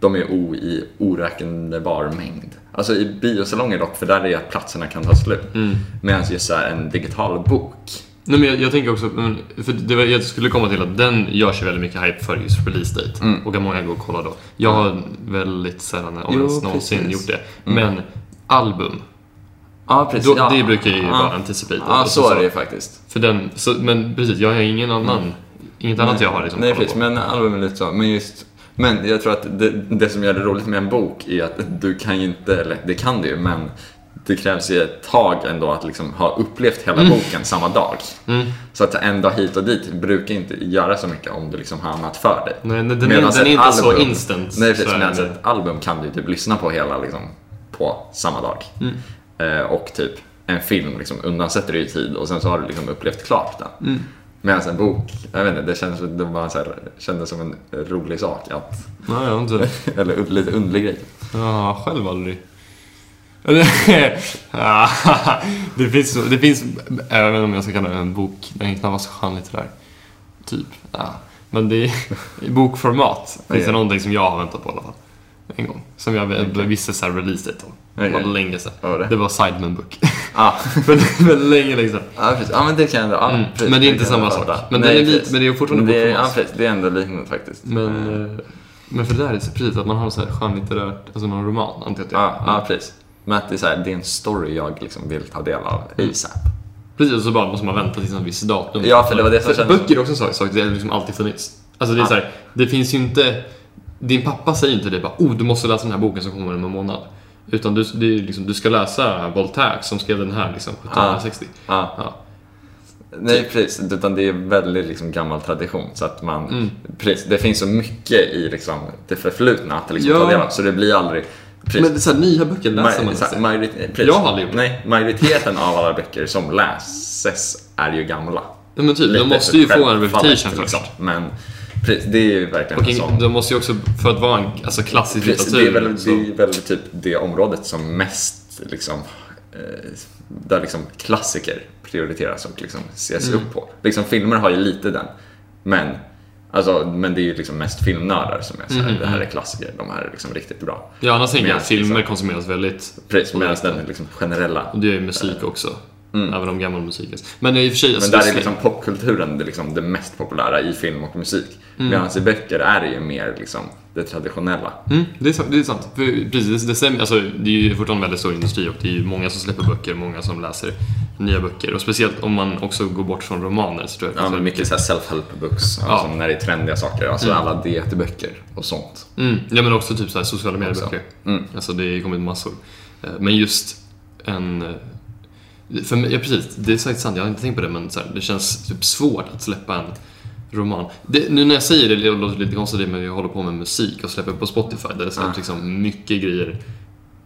de är o i oräknebar mängd. Alltså i biosalonger dock, för där är att platserna kan ta slut. Mm. Medan just så här, en digital bok.
Nej, men jag, jag tänker också, mm, för det var, jag skulle komma till att den görs ju väldigt mycket hype för just release date och att många går och kollar då. Jag har väldigt sällan, om
Mm. Jo,
ens någonsin,
precis.
gjort det. Men album,
Ja, precis.
då,
ja.
det brukar ju
ja.
vara anticipated.
Ja,
Alltså,
så är det ju faktiskt.
För den, så, men precis, jag har ingen annan, inget annat jag har liksom
Nej,
kollat
precis.
på.
Men album är lite så. Men just men jag tror att det, det som gör det roligt med en bok är att du kan ju inte, eller det kan du ju, men det krävs ju ett tag ändå att liksom ha upplevt hela
Mm.
boken samma dag. Så att en dag hit och dit brukar inte göra så mycket om du liksom har annat för dig.
Nej, nej, den är-
Medans
den är
ett
inte så instant,
Nej,
så
precis.
är
Medan
det.
ett album kan du typ lyssna på hela liksom, på samma dag.
Mm.
Eh, och typ en film liksom, undansätter du ju tid och sen så har du liksom upplevt klart den. Mm. Medan en bok, jag vet inte, det kändes, det var så här, kändes som en rolig sak. Att,
Nej, jag har inte.
eller un- lite underlig grej.
Ja, själv aldrig. Eller, det finns, det finns, även om jag ska kalla det en bok, den är knappast skönlitterär. Typ. Ja. Men det är, i bokformat finns det
Okej.
någonting som jag har väntat på i alla fall. En gång. Som jag okay. visste så här release date om. Det var
Okej.
länge sedan.
Vad var det?
Det var Sidemen Book.
Ah.
men, men länge, länge sedan.
Ja, precis. Ja, men det kan jag ändå... Ja,
Mm.
Ah, precis.
Men det är inte
kan jag
samma
fatta.
sak. Men den är lite-
precis.
men det är fortfarande
det är,
bokformat.
ja, precis. det är ändå liknande faktiskt.
Men,
Eh,
eh, men för det där är så precis att man har så här skönlitterärt, alltså någon roman antar jag att det är.
Ja, ja, precis. Men att det är, så här, det är en story jag liksom vill ta del av
Mm.
ASAP.
Precis, och så bara måste man vänta tills en viss datum.
Ja, för det var det som kändes-
Böcker är också en sak, sak det har liksom alltid funnits. Alltså det är
Ja.
så här, det finns ju inte... Din pappa säger inte det bara oh, du måste läsa den här boken som kommer om en månad. Utan du, det är ju liksom, du ska läsa Voltaire som skrev den här liksom 1760.
Ja.
Ja.
Nej,
Typ.
precis. Utan det är en väldigt liksom, gammal tradition. Så att man,
Mm.
precis, det finns så mycket i liksom, det förflutna att liksom,
Ja.
ta del av. Så det blir aldrig... Precis,
Men det är så här, nya böcker
Ma-
läser man
så här,
inte.
majorit- eh, precis.
Jag har aldrig gjort det.
Nej, majoriteten av alla böcker som läses är ju gamla.
Ja, men typ,
Lite
de måste ju få en
självfallet,
reputation först.
liksom. Men precis, det är ju verkligen en
Och
sån.
de måste ju också, för att vara en alltså, klassisk
Precis,
litteratur.
det är väl,
så-
det är väl typ det området som mest liksom, eh, där liksom klassiker prioriteras och liksom ses
Mm.
upp på. Liksom, filmer har ju lite den, men, alltså, men det är ju liksom mest filmnördar som är såhär,
Mm.
det här är klassiker, de här är liksom riktigt bra.
Ja, annars tänker jag att
Men, liksom-
filmer konsumeras väldigt
Precis, medan den liksom generella,
Och det är ju musik också. Även om gammal musik. är- Men i och för sig,
Mm. men
alltså,
där
det-
är liksom popkulturen det, liksom det mest populära i film och musik. Medan i böcker är det ju mer liksom det traditionella.
Mm, det, är, sant- det är sant. För, precis, det, stämmer. Alltså, det är ju fortfarande en väldigt stor industri och det är ju många som släpper böcker, många som läser nya böcker. Och speciellt om man också går bort från romaner så tror jag
Ja,
att
men mycket så här self-help books,
Ja.
alltså när det är trendiga saker. Alltså alla dietböcker och sånt.
Mm, ja, men också typ så här sociala medier-böcker.
Mm.
Alltså, det har ju kommit massor. Eh, Men just en... eh, För mig, ja, precis. Det är säkert sant, jag har inte tänkt på det, men så här, det känns typ svårt att släppa en roman. Det, nu när jag säger det, det låter lite konstigt, men jag håller på med musik och släpper på Spotify där det släpps
Ah.
liksom mycket grejer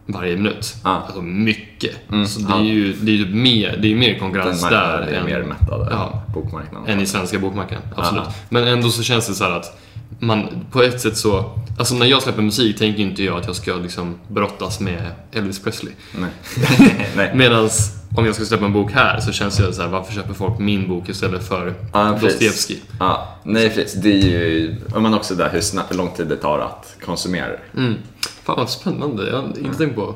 varje minut.
Ah.
Alltså mycket.
Mm,
Så det är
ah.
ju det är ju typ mer, det är ju mer
Den
konkurrens där
marknaden är
än,
mer mättad än
Ja.
bokmarknaden.
än i svenska bokmarknaden. Absolut.
Ah.
Men ändå så känns det så här att man på ett sätt så... Alltså när jag släpper musik tänker ju inte jag att jag ska liksom brottas med Elvis Presley.
Nej. Nej.
Medan om jag ska släppa en bok här så känns det så här, varför köper folk min bok istället för
Ja, precis.
Dostojevskij?
Ja, nej precis. Det är ju, ja, men också där hur snabbt, hur lång tid det tar att konsumera det.
Mm. Fan vad spännande, jag har inte tänkt på.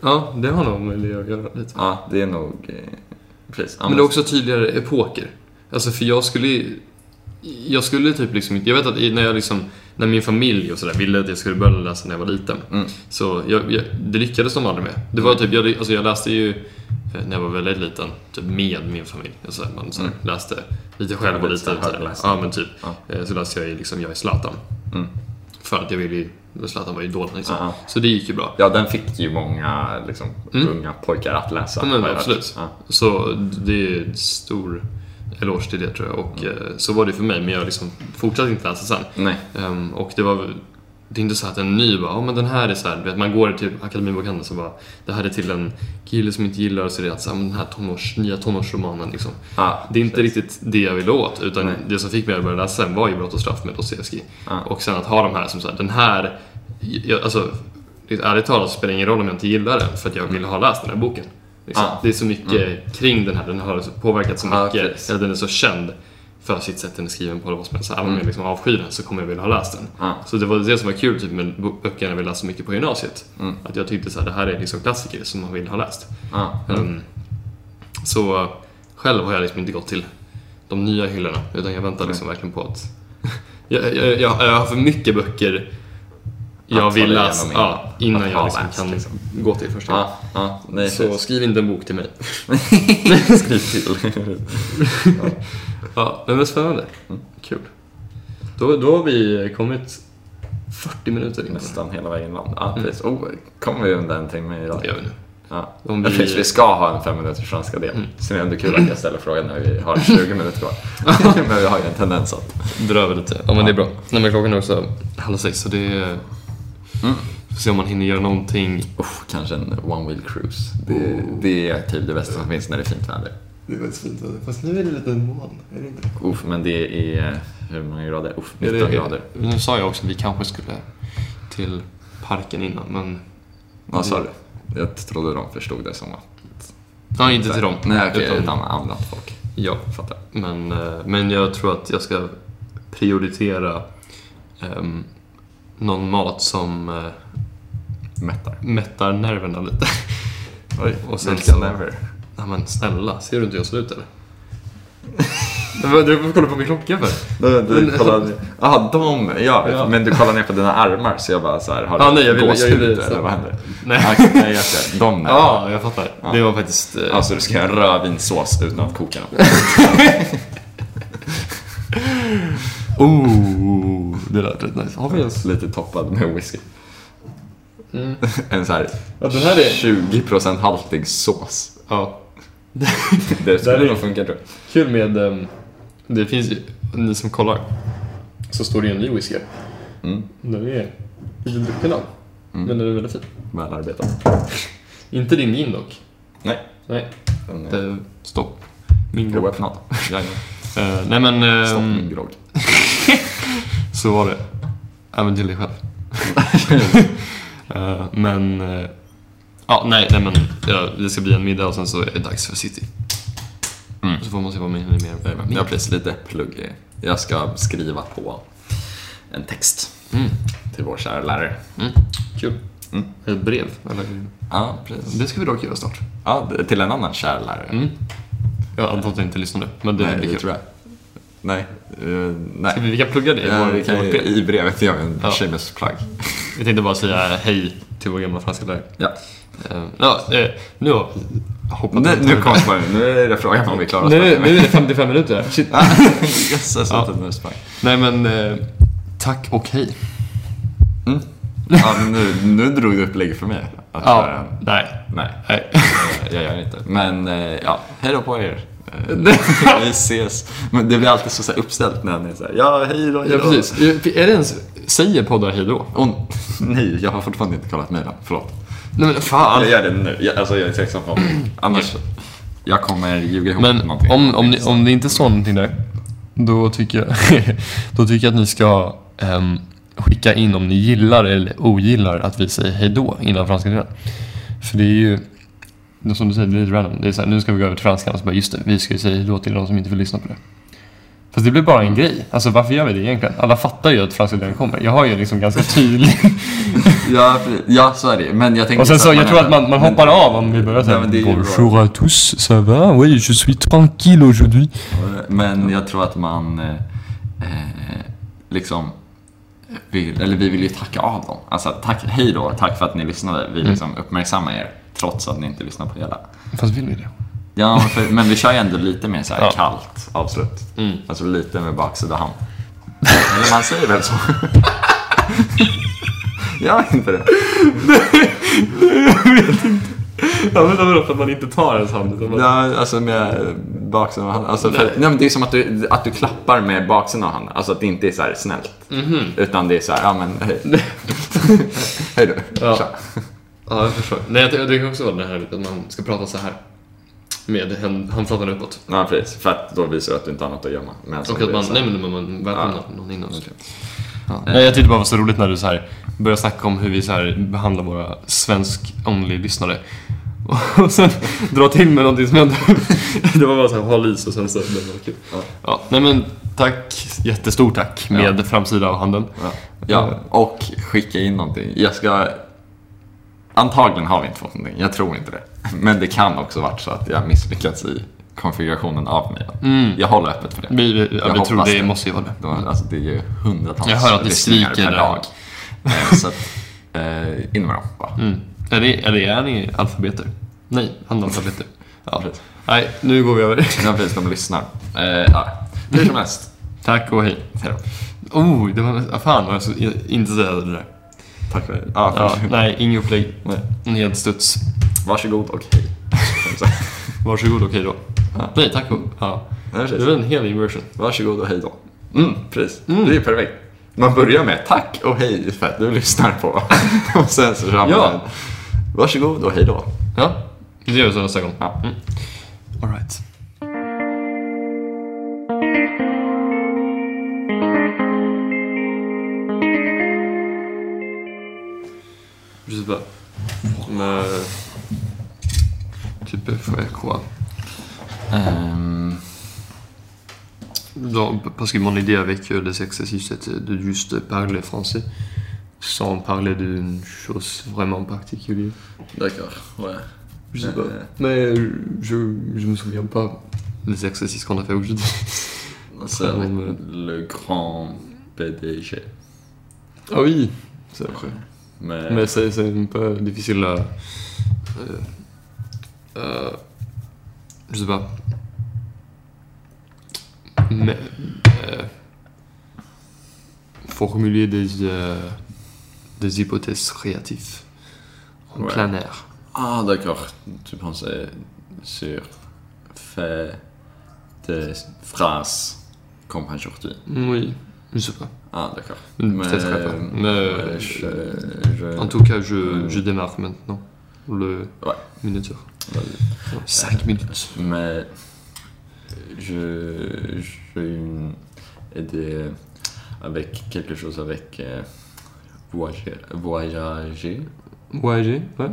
Ja, det har nog med det att göra lite.
Ja, det är nog, eh, precis. Ja,
Men det är också tydligare epoker. Alltså för jag skulle ju- Jag skulle typ liksom inte... Jag vet att i- när jag liksom... När min familj och sådär ville att jag skulle börja läsa när jag var liten.
Mm.
Så jag, jag, det lyckades de aldrig med. Det var typ, jag, alltså jag läste ju eh, när jag var väldigt liten, typ med min familj. Alltså man så här,
Mm.
läste lite själv och
Lite
lite
så här
så här.
högläsning.
Ja men typ.
Ja.
Eh, Så läste jag ju liksom Jag är Zlatan.
Mm.
För att jag ville ju... Zlatan var ju idolen liksom.
Ja, ja.
Så det gick ju bra.
Ja, den fick ju många liksom,
Mm.
unga pojkar att läsa.
Ja, men
har jag hört.
absolut.
Ja.
Så det är en stor eloge till det tror jag. Och eh, så var det för mig, men jag liksom fortsatte inte läsa sen.
Nej,
Ehm, och det var det är inte så att en ny bara, ja men den här är så här, du vet, man går till Akademibokhandeln så bara, det här är till en kille som inte gillar så det är att så här, men den här tonårs, nya tonårsromanen liksom.
ja,
Det är inte riktigt det jag ville åt, utan
Nej.
det som fick mig att börja läsa sen var ju Brott och straff med Dostojevskij.
Ja.
Och sen att ha de här som så här, den här, jag, alltså det- ärligt talat så spelar det ingen roll om jag inte gillar den, för att jag vill ha läst den här boken. Liksom.
Ja. Mm.
Det är så mycket kring den här, den har så påverkat så
Ja,
mycket,
precis.
eller den är så känd för sitt sätt den är skriven på, eller vad som helst. Så Även om jag liksom avskyr den så kommer jag vilja ha läst den.
Mm. Ja.
Så det var det som var kul typ, med bo- böckerna vi läste mycket på gymnasiet.
Mm.
Att jag tyckte att det här är liksom klassiker som man vill ha läst.
ja.
Ehm, Så själv har jag liksom inte gått till de nya hyllorna, utan jag väntar liksom verkligen på att... jag, jag, jag, jag har för mycket böcker jag
Att ta
vill
dig
läsa
igenom innan.
ja, innan
Att
jag
ha
liksom
läst,
kan
liksom.
gå till första gången.
ja, ja nej,
Så
precis.
skriv inte en bok till mig.
Skriv till.
Ja, men vad spännande. Kul. Mm. Då, då har vi kommit 40 minuter in på det.
Nästan hela vägen land.
Mm.
Ja, precis. Oh, kommer vi under en timme
Det
idag?
gör vi nu.
Ja.
Om
Ja, precis, vi
vi...
ska ha en fem minuters franska del.
Mm.
Sen är det ändå kul att jag ställer frågan när vi har 20 minuter kvar. men vi har ju en tendens att...
drar över lite. Ja, men det är bra. Nej, men klockan är också Mm. halv sex, så det är... Får se om man hinner göra någonting
Uff, kanske en one wheel cruise. Det, det är typ det bästa som finns när det är fint väder.
Det är väldigt fint väder. Fast nu är det lite moln, är det inte?
Uff, men det är hur många grader? Uff,
Är
19
det-
grader.
Nu sa jag också att vi kanske skulle till parken innan, men...
Vad sa du? Jag trodde de förstod det som att...
Ja, inte till dem.
Nej, okej,
utan-
utan annat folk.
Ja,
Fattar.
men, eh, men jag tror att jag ska prioritera ehm, någon mat som eh,
Mättar.
mättar nerverna lite.
Oj,
och
och
sen
sen
så-
never.
Nej men snälla, ser du inte hur jag ser ut eller? Men vad- Du kollar på min klocka för?
Du,
Men-
du kollade... Jaha, de, ja,
Ja.
Men du kollar ner på dina armar så jag bara så här, har
Ja, nej, jag ville- jag
gåshud
ville-
eller vad händer?
Nej.
Ah, okej, nej, just det. De där.
Ja, jag fattar. Det var faktiskt... eh,
Alltså du ska göra rödvinssås utan att koka den.
Oh, det lät rätt nice. Har vi ens...
Lite toppad med whisky.
Mm.
En så här
Ja, den här är...
20% haltig sås.
Ja.
Det
Där är-
skulle nog funka tror jag.
Kul med, ehm, det finns ju, ni som kollar, så står det ju en ny whisky.
Mm.
Den är lite drucken av,
Mm.
men den är väldigt fin.
Välarbetat.
Inte din gin dock.
Nej.
Nej.
Den är
Det, stopp. Min grogg.
oöppnad. Jajamän.
Eh, nej men, ehm,
Stopp min grogg.
så var det. Även till dig själv. Mm. Eh, men, eh, ja nej, nej men, ja, det ska bli en middag och sen så är det dags för city.
Mm.
Så får man se vad man hinner med. med.
Jag blir lite plugg. Jag ska skriva på en text
Mm.
till vår kära lärare.
Mm. Kul.
Mm.
Ett brev, eller?
Ja, precis.
Det ska vi dock göra snart.
Ja, det- till en annan kär lärare.
Mm. Jag antar att jag inte lyssnar nu, men det
Nej,
blir
det
kul.
tror jag. Nej. eh,
Ska
nej.
vi, vi kan plugga det i
Ja,
vår,
vi kan,
vårt brev.
I brevet gör vi en
Ja.
shameless plug.
Jag tänkte bara säga hej till vår gamla franska lärare.
Ja.
Eh, ja, eh, nu har jag hoppat
Nu,
runt
nu
här.
kommer jag på- nu är det frågan om vi klarar oss.
nu, nu är det 55 minuter. Shit.
Jösses,
Ja.
att den nu sprang.
Nej men, eh, tack och hej. Mm.
Ja, men nu, nu drog du upp lägg för mig. Att köra
Ja,
en-
Alltså, nej.
Nej,
nej.
jag gör inte. Men eh, ja, hej då på er. Eh, vi ses. Men det blir alltid så, så här uppställt när ni är så här, ja hej då, hej
Ja,
då.
precis. Är det ens, säger poddar hej då?
Och, nej, jag har fortfarande inte kollat mejlen. Förlåt.
Nej men fan.
Jag gör det nu. Jag, alltså jag är tveksam på Annars, jag kommer ljuga ihop
Men
någonting.
om, om, ni, om det inte står någonting där, då tycker jag, då tycker jag att ni ska ehm, skicka in om ni gillar eller ogillar att vi säger hejdå innan franska delen. För det är ju, det är som du säger, det är lite random. Det är så här, nu ska vi gå över till franskan och så bara, just det, vi ska ju säga hejdå till de som inte vill lyssna på det. Fast det blir bara en grej. Alltså varför gör vi det egentligen? Alla fattar ju att franska delen kommer. Jag har ju liksom ganska tydlig...
Ja, precis. ja, så är det ju. Men jag tänker
och sen så,
att
jag tror att man, man
men-
hoppar av om vi börjar
Nej,
säga
men det är ju bra.
à tous, ça va? Oui, je suis tranquille aujourd'hui.
Men jag tror att man eh, eh, liksom vill, eller vi vill ju tacka av dem. Alltså tack, hej då, tack för att ni lyssnade. Vi
Mm.
liksom uppmärksammar er trots att ni inte lyssnar på hela.
Fast vill vi det?
Ja, men för, men vi kör ju ändå lite mer så här
Ja.
kallt avslut.
Mm.
Alltså lite med baksida hand. Eller man säger väl så? Gör inte det?
Ja, men vadå för att man inte tar ens hand? Utan man...
Ja, alltså med baksidan av handen. Alltså för, nej. men det är som att du, att du klappar med baksidan av handen. Alltså att det inte är så här snällt.
Mhm.
Utan det är så här, ja men hej. hej då.
Ja.
Tja.
Ja, jag förstår. Nej, jag, ty- jag tycker också vara den här att man ska prata så här. Med hand- handflatan uppåt.
Ja, precis. För att då visar du att du inte har något att gömma. Men så
Och
blir
att
det
man,
så här-
nej men men man välkomnar
Ja.
någon innan.
Okej.
Nej, jag tyckte bara det var så roligt när du så här började snacka om hur vi så här behandlar våra svensk-only-lyssnare. Och sen dra till med någonting som hände. Det var bara så här, håll is och sen så, det var kul.
Ja.
Ja, nej men tack, jättestort tack med framsida av handen.
Ja. ja, och skicka in någonting. Jag ska... Antagligen har vi inte fått någonting. Jag tror inte det. Men det kan också varit så att jag misslyckats i konfigurationen av mig.
Mm.
Jag håller öppet för det.
Vi, vi, ja,
Jag
vi tror
hoppas
det,
det.
måste ju vara det.
Det, var, alltså, det är ju hundratals
Jag hör att ni
lyssningar
skriker
per
där.
dag. Eh, Så att, eh, in med dem bara.
Mm. Är, det, är, det, är ni alfabeter? Nej, analfabeter. Ja.
Precis.
Nej, nu går vi över.
Ja, precis, de lyssnar. Eh, ja. Hur som helst.
Tack och hej.
Hej då.
Oh, det var... ah, Fan, jag ska inte säga det där.
Tack för det. Ja,
Ja, nej, ingen upplägg.
Nej.
En hel studs.
Varsågod och hej. Som sagt.
Varsågod, okej då.
Ja.
Nej, tack och... Ja.
Nej,
Det
precis.
var en hel inversion.
Varsågod och hej då. Mm, precis. Det är ju perfekt. Man börjar med tack och hej för att du lyssnar på. och sen så ramlar
Ja.
den. Varsågod och hej då.
Ja, det gör vi så nästa gång.
Ja.
Mm. All right. Je sais pas. Mais... Tu peux faire quoi Dans- Parce que mon idée avec euh, les exercices, c'était de juste parler français sans parler d'une chose vraiment particulière.
D'accord, ouais.
Je sais pas. Mais euh, je, je me souviens pas.
Les exercices qu'on a fait aujourd'hui.
C'est
avec
le grand PDG.
Ah oui
C'est vrai.
Mais,
Mais c'est c'est un peu difficile à. Euh, euh, je sais pas. Mais. euh, formuler des, euh, des hypothèses créatives en
Ouais.
plein air.
Ah, d'accord. Tu pensais sur fait des phrases comme aujourd'hui.
Oui, je sais pas.
Ah, d'accord.
Peut-être pas. Mais,
Euh, je, je-
en tout cas, je,
euh,
je démarre maintenant le
Ouais.
minuteur.
Vas-y.
5 minutes.
Mais je, j'ai une idée avec quelque chose avec euh, voyager, voyager.
Voyager, ouais.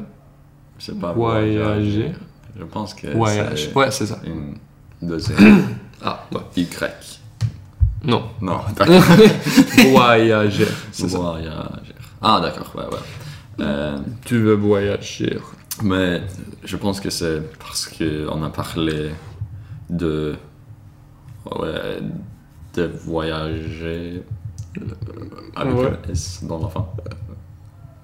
C'est pas
Voyager.
Je pense que
Voyage.
c'est
Ouais, c'est ça.
une deuxième
Ah, ouais.
Y.
Non.
Non, d'accord.
Voyager. C'est ça.
Voyager. Ah, d'accord, ouais, ouais. Euh,
Tu veux voyager.
Mais je pense que c'est parce qu'on a parlé de, ouais, de voyager euh, avec
Ouais.
un S dans la fin.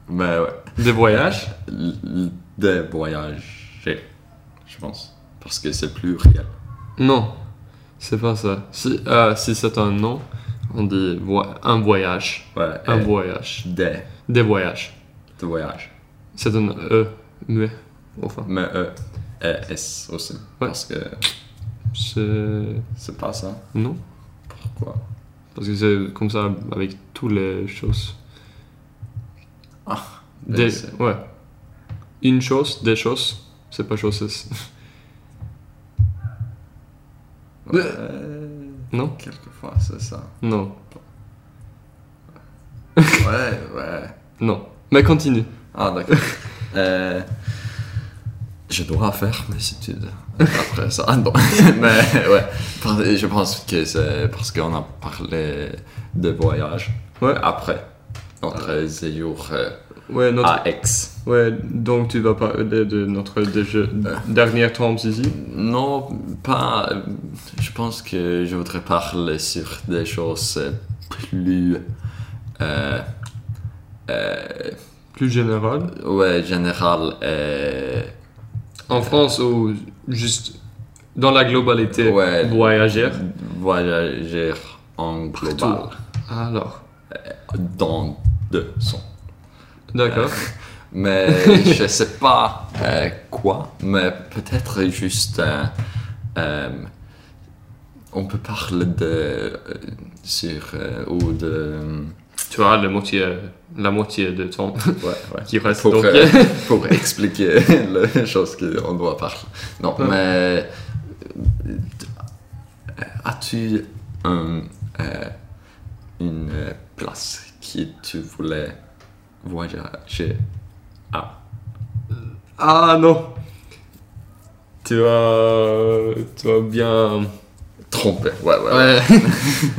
Mais ouais,
Des voyages
l- l- de voyager, je pense. Parce que c'est plus réel.
Non. C'est pas ça. Si, euh, si c'est un nom, on dit vo- un voyage.
Ouais,
Un
et
voyage.
des
Des voyages.
de voyage.
C'est un E muet. Enfin,
Mais E et S aussi. Parce que
c'est.
c'est pas ça.
Non.
Pourquoi
Parce que c'est comme ça avec toutes les choses.
Ah,
Des,
c'est-
ouais. Une chose, des choses, c'est pas choses.
Ouais,
Non
Quelquefois, c'est ça.
Non.
ouais, ouais.
Non. Mais continue.
Ah, d'accord. euh, je dois faire mes études après ça. Ah, non. Mais ouais, Par- je pense que c'est parce qu'on a parlé de voyage
Ouais.
après notre séjour euh,
Ouais, notre,
à Aix.
ouais, donc tu vas parler de notre déje- dernière temps ici.
Non, pas. euh, Je pense que je voudrais parler sur des choses euh, plus. Euh, euh,
Plus général.
ouais, générales. et-
En France ou juste
Dans la globalité
Ouais.
voyagère.
voyager en global
Alors,
dans deux sens.
d'accord.
Euh.
Mais je sais pas euh, quoi, mais peut-être juste euh, euh, on peut parler de euh, sur euh, ou de euh,
Tu as la moitié, la moitié de ton
ouais, ouais.
qui reste.
Pour,
Donc,
euh, pour expliquer les choses qu'on doit parler. Non,
Ouais.
mais euh, as-tu un, euh, une euh, place qui tu voulais voyager à
Ah non Tu vas... Tu vas bien...
Tromper, ouais, ouais. ouais.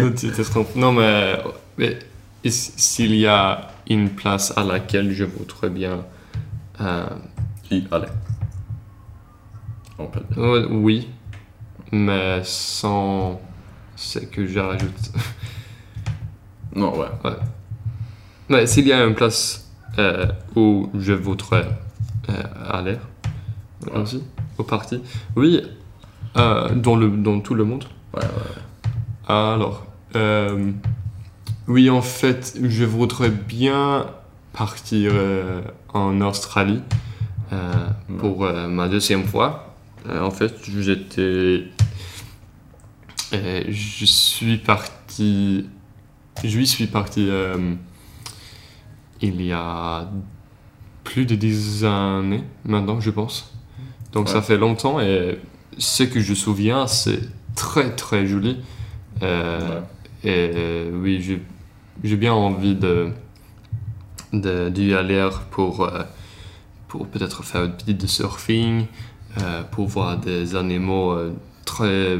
Ouais. tu te trompes. Non, mais, mais is- s'il y a une place à laquelle je voudrais bien. euh,
Y aller. On peut le dire.
euh, oui, mais sans. C'est que je rajoute.
Non, ouais.
Mais s'il y a une place euh, où je voudrais euh, aller,
Ouais.
aussi, au parti, oui, euh, dans, le, dans tout le monde.
Ouais, ouais.
Alors, euh, oui, en fait, je voudrais bien partir euh, en Australie euh,
Mm.
pour euh, ma deuxième fois. Euh, en fait, j'étais. euh, je suis parti. Je suis parti euh, il y a plus de dix années maintenant, je pense. Donc
Ouais.
ça fait longtemps et ce que je souviens, c'est très très joli. Euh,
Ouais.
et euh, oui, j'ai- j'ai bien envie de de- d'y aller pour, euh, pour peut-être faire une petite surfing, euh, pour voir des animaux euh, très,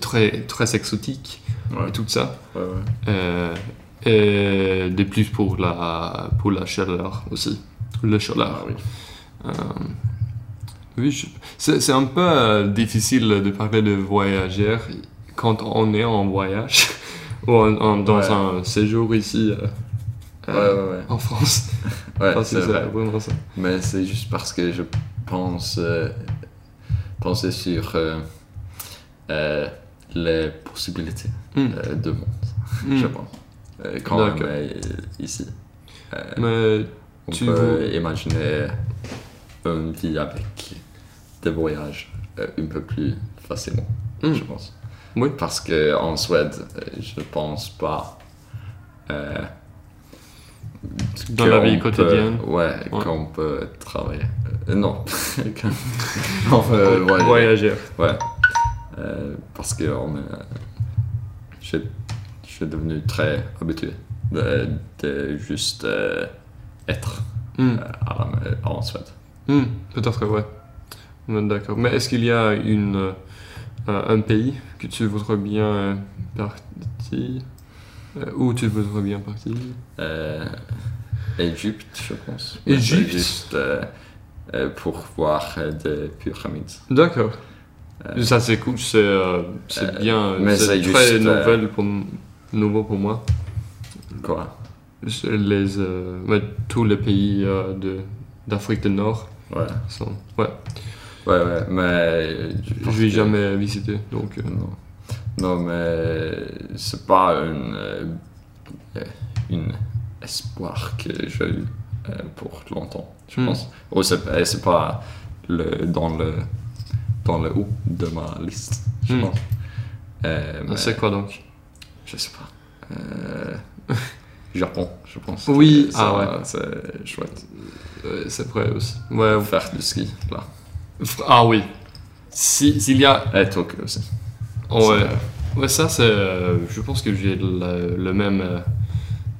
très, très exotiques
Ouais.
et tout ça.
Ouais, ouais.
Euh, et de plus pour la, pour la chaleur aussi. Le chaleur.
Ah, oui.
Euh, oui, je- c'est c'est un peu euh, difficile de parler de voyageur quand on est en voyage ou en- en- dans
Ouais.
un séjour ici euh,
Ouais,
euh,
ouais, ouais.
en France.
Ouais,
Parce
c'est
que c'est
vrai.
vraiment ça.
Mais c'est juste parce que je pense. euh, penser sur euh, euh, les possibilités
Mm.
euh, de monde,
Mm.
je pense. Euh, quand on
D'accord.
est ici, euh,
Mais
on
tu
peut
veux-
imaginer une vie avec des voyages euh, un peu plus facilement,
Mm.
je pense.
Oui.
Parce qu'en Suède, euh, je pense pas. euh,
Dans la
qu'on
vie
peut-
quotidienne.
ouais,
Ouais.
qu'on peut travailler. Euh, non. Qu'on- on peut voyager.
voyageur.
Ouais. Euh, parce que on est... je, je suis devenu très habitué de, de juste euh, être
Mm.
euh, à la, en Suède.
Hmm, peut-être que ouais. Ouais, D'accord. Mais est-ce qu'il y a une, euh, un un pays que tu voudrais bien euh, partir Euh, Où tu voudrais bien partir
Euh, Égypte, je pense.
Égypte?
C'est Juste euh, euh, pour voir euh, des pyramides.
D'accord.
Euh,
Ça c'est cool, c'est euh, c'est
euh,
bien, euh,
mais
c'est
c'est
très
juste, euh,
nouvelle pour, m- nouveau pour moi.
Quoi
C'est Les, euh, ouais, tous les pays euh, de- d'Afrique du Nord
Ouais,
sont... Ouais,
ouais, ouais mais.
je
pense
vais
que-
jamais visité, donc... euh,
Non. Non, mais euh, c'est pas une, euh, une espoir que j'ai eu euh, pour longtemps, je
Mm.
pense. Ou c'est et c'est pas le, dans, le, dans le haut de ma liste, je
Mm.
pense. Euh, mais
C'est quoi donc
je sais pas. Euh, Japon, je pense.
Oui,
Ça,
ah ouais.
C'est chouette.
Euh, C'est vrai aussi. Ouais,
Faire du ski, là.
f- ah oui. Si- S'il y a
Et Tokyo Eh, aussi.
Ouais,
C'est-
ouais ça c'est... euh, je pense que j'ai le, le même... euh,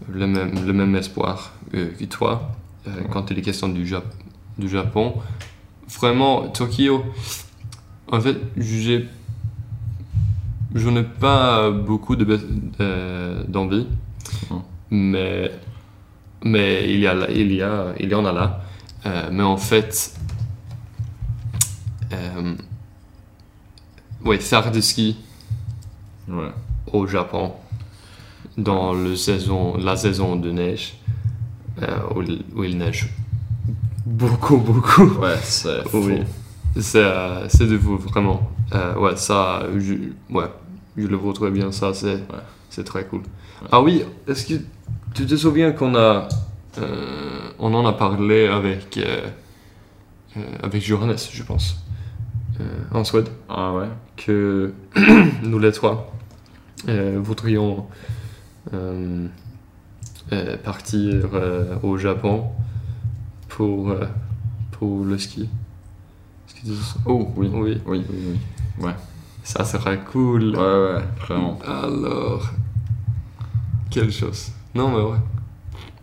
le même, le même espoir euh, que toi euh, quand il est question du, Jap- du Japon. Vraiment, Tokyo, en fait, j'ai, je n'ai pas beaucoup de, be- euh, d'envie,
Mhm.
mais, mais il, y a, il, y a, il y en a là. Euh, mais en fait, euh, ouais, faire du ski
Ouais.
au Japon dans le saison, la saison de neige euh, où, il- où il neige beaucoup, beaucoup.
Ouais, c'est fou.
Oui. C'est, euh, c'est de vous, vraiment. Euh, ouais, ça, je, ouais, je le vois très bien, ça, c'est, c'est très cool.
Ouais.
Ah oui, est-ce que tu te souviens qu'on a, euh, on en a parlé avec, euh, euh, avec Johannes, je pense, euh, en Suède
Ah ouais.
que nous les trois euh, voudrions euh, euh, partir euh, au Japon pour, euh, pour le ski. Est-ce que tu-
Oh, oui. Oui,
Oui,
oui, oui.
ça sera cool.
Ouais, ouais, vraiment.
Alors, quelle chose. Non, mais ouais.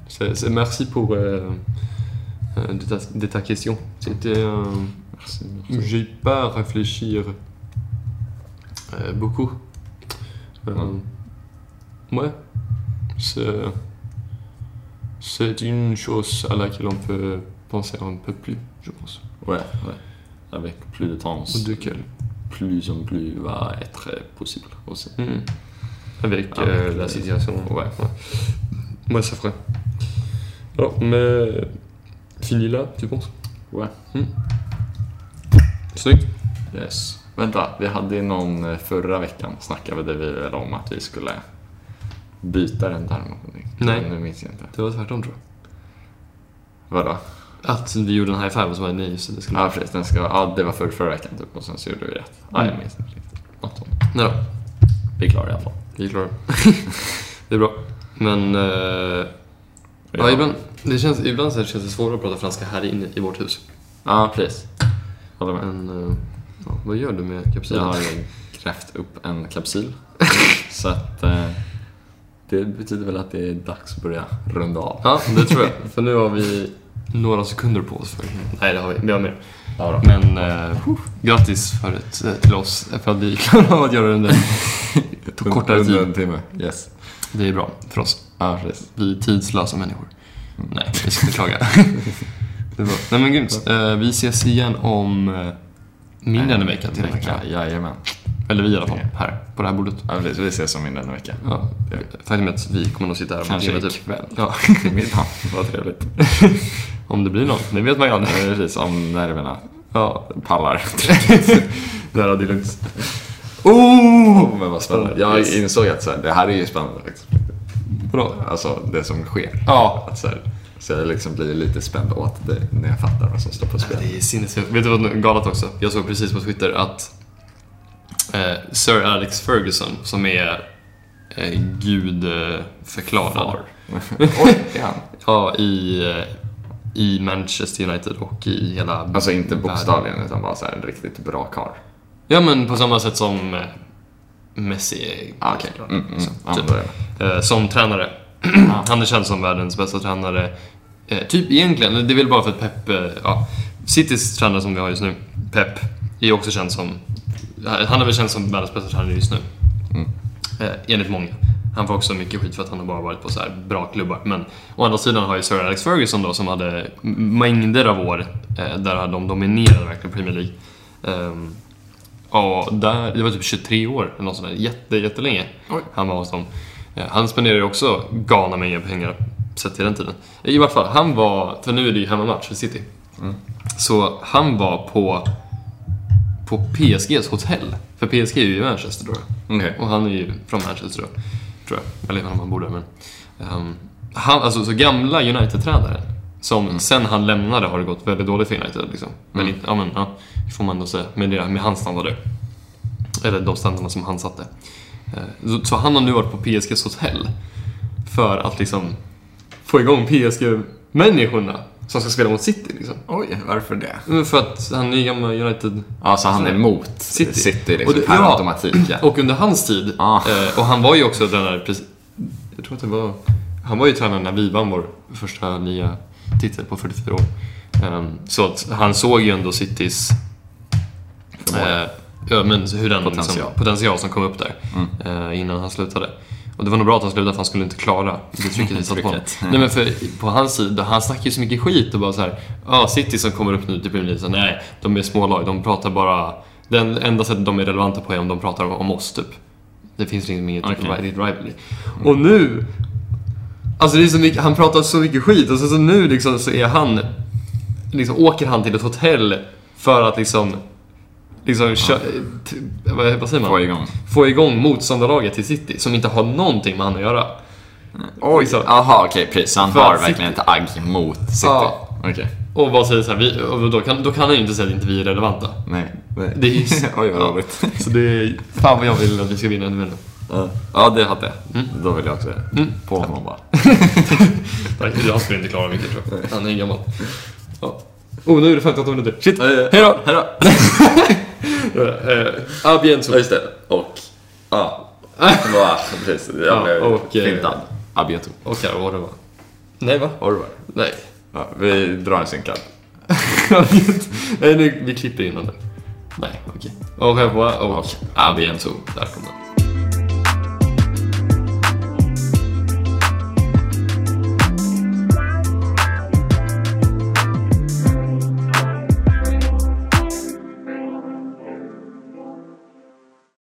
C'est, c'est- merci pour euh, euh, de, ta, de ta question. C'était un-
Merci.
j'ai pas à réfléchir euh, beaucoup. Euh, ouais. C'est, c'est une chose à laquelle on peut penser un peu plus, je pense.
Ouais, ouais. Avec plus de temps,
Ou de quel
plus en plus va être possible aussi.
Mm. Avec
Avec,
euh,
euh,
la situation.
ouais.
ouais. Ouais, ça ferait. Alors, mais. Fini là, tu penses
Ouais.
Mm. Snyggt.
Yes. Vänta, vi hade någon eh, förra veckan snackade vi väl om att vi skulle byta den där någonting.
Nej.
Men Nu minns jag inte.
Det var tvärtom tror jag.
Vadå?
Att vi gjorde den här affären så var det nej, just det, det skulle...
Ja precis, den ska, ja, det var för, förra veckan typ och sen så gjorde vi rätt. Ja, jag
Mm.
minns inte riktigt. Något sånt.
Nej då.
Vi är klara i alla fall.
Vi är klara. det är bra. Men eh, ja. ibland, det känns, ibland så känns det svårare att prata franska här inne i vårt hus.
Ja, precis. Håller med.
Men eh, ja, vad gör du med
Jag
kapsylen?
har ju krävt upp en kapsyl. så att eh, det betyder väl att det är dags att börja runda av.
Ja, det tror jag. För nu har vi några sekunder på oss. För... Nej, det har vi. Vi har mer.
Ja, då.
Men eh, grattis för ett, eh, till oss för att vi klarade av att göra det under på kortare
Under
tid.
en timme. Yes.
Det är bra för oss.
Ja, precis.
Vi är tidslösa människor.
Mm.
Nej, vi ska inte klaga. det är bra. Nej men grymt. Eh, vi ses igen om eh, mindre än en vecka till en vecka.
Ja, Eh, Jajamän.
Eller vi i alla fall,
Okej.
här, på det här bordet.
Ja, precis. Vi ses om mindre än en vecka.
Ja. Faktum är att vi kommer nog sitta här om en
Kanske
timme typ.
ikväll.
Ja.
Till middag. Vad trevligt.
Om det blir någon, det vet man ju aldrig.
Ja, Precis, om nerverna
Ja,
pallar.
det här är deluxe. Oh!
Men vad spännande. Jag
Yes.
insåg att så här, det här är ju spännande faktiskt.
Bra.
Alltså det som sker.
Ja.
Att så, här, så jag liksom blir lite spänd åt det när jag fattar vad som står på spel.
Det är sinnessjukt. Vet du vad som är galet också? Jag såg precis på Twitter att eh, Sir Alex Ferguson, som är eh, gudförklarad,
Oj, är han?
ja, i, eh, i Manchester United och i hela...
Alltså inte bokstavligen utan bara så här, en riktigt bra karl.
Ja, men på samma sätt som eh, Messi är
Ah, Okej. Mm, mm.
Så,
Ja,
typ.
då är det.
Eh, som tränare. Han är känd som världens bästa tränare. Eh, typ egentligen, det är väl bara för att Pep, eh, ja, Citys tränare som vi har just nu, Pep, är också känd som, han är väl känd som världens bästa tränare just nu.
Mm.
Eh, enligt många. Han får också mycket skit för att han har bara varit på så här bra klubbar. Men å andra sidan har ju Sir Alex Ferguson då som hade m- mängder av år eh, där de dominerade verkligen Premier League. Ehm, ja, där, det var typ 23 år eller något sånt där. Jätte, jättelänge
Oj.
han var hos dem. Eh, han spenderade ju också galna mängder pengar sett till den tiden. I vart fall, han var, för nu är det ju hemmamatch för City.
Mm.
Så han var på, på PSGs hotell. För PSG är ju i Manchester då.
Okej.
Och han är ju från Manchester då, tror jag. Eller jag vet inte om han bor där, men... ehm, han, alltså, så gamla United-tränaren, som sen han lämnade har det gått väldigt dåligt för United. Liksom. Men,
Mm.
inte- ja, men, ja, det får man ändå säga, med, det, med hans standarder. Eller de standarderna som han satte. Eh, så, så han har nu varit på PSGs hotell för att liksom få igång PSG-människorna som ska spela mot City. Liksom.
Oj, varför det?
Men För att han är ju gammal United...
Ja, så han är emot
City.
City,
Och
liksom,
det-
per
ja. Oh.
automatik. Ja.
Och under hans tid,
Ah.
eh, och han var ju också den där, precis- jag tror att det var, Han var ju tränare när vi vann vår första nya titel på 44 år. Ehm, så att han såg ju ändå Citys
Förmåga.
eh, ja, men hur den potential.
Potential. Mm.
Liksom, potential som kom upp där eh, innan han slutade. Och det var nog bra att han slutade för han skulle inte klara det trycket vi satte på honom.
Trycket.
Nej men för på hans sida, han snackar ju så mycket skit och bara så här. Ja, City som kommer upp nu till Premier League, så nej, de är smålag, de pratar bara... Den enda sättet de är relevanta på är om de pratar om oss typ. Det finns liksom inget
Okej.
okay. rivalry. Och nu Alltså det är så mycket, han pratar så mycket skit och sen så nu liksom så är han... Liksom åker han till ett hotell för att liksom... Liksom kö, t, vad, vad säger man?
Få igång.
Få igång motståndarlaget till City som inte har någonting med han att göra.
Oj!
Liksom.
Jaha, okej precis. Så han
För
har
City-
verkligen ett agg mot City?
Ja.
Okej.
Och bara säger så här, vi, och då, kan, då kan han ju inte säga att inte vi är relevanta.
Nej.
Det är ju-
Oj, vad roligt.
Så det är... Fan vad jag vill att vi ska vinna den duellen.
Ja. Ja, det hade jag. Då vill jag också det. På honom bara.
Tack, Han skulle inte klara mycket tror jag. Han är gammal. Ja. Oh, nu är det 15 minuter. Shit!
Eh,
Hej då!
Hejdå!
Eh, a bientôt.
Ja, just det. Och... Ja. Ja, precis. Jag blev
Ja, och, eh,
fintad. Abieto.
Och Carola va? Nej va?
Orvar.
Nej.
Ja, vi drar en synkad.
Nej, nu, vi klipper in den där. Nej, okej. Au revoir och
Och
à bientôt. Där kommer den.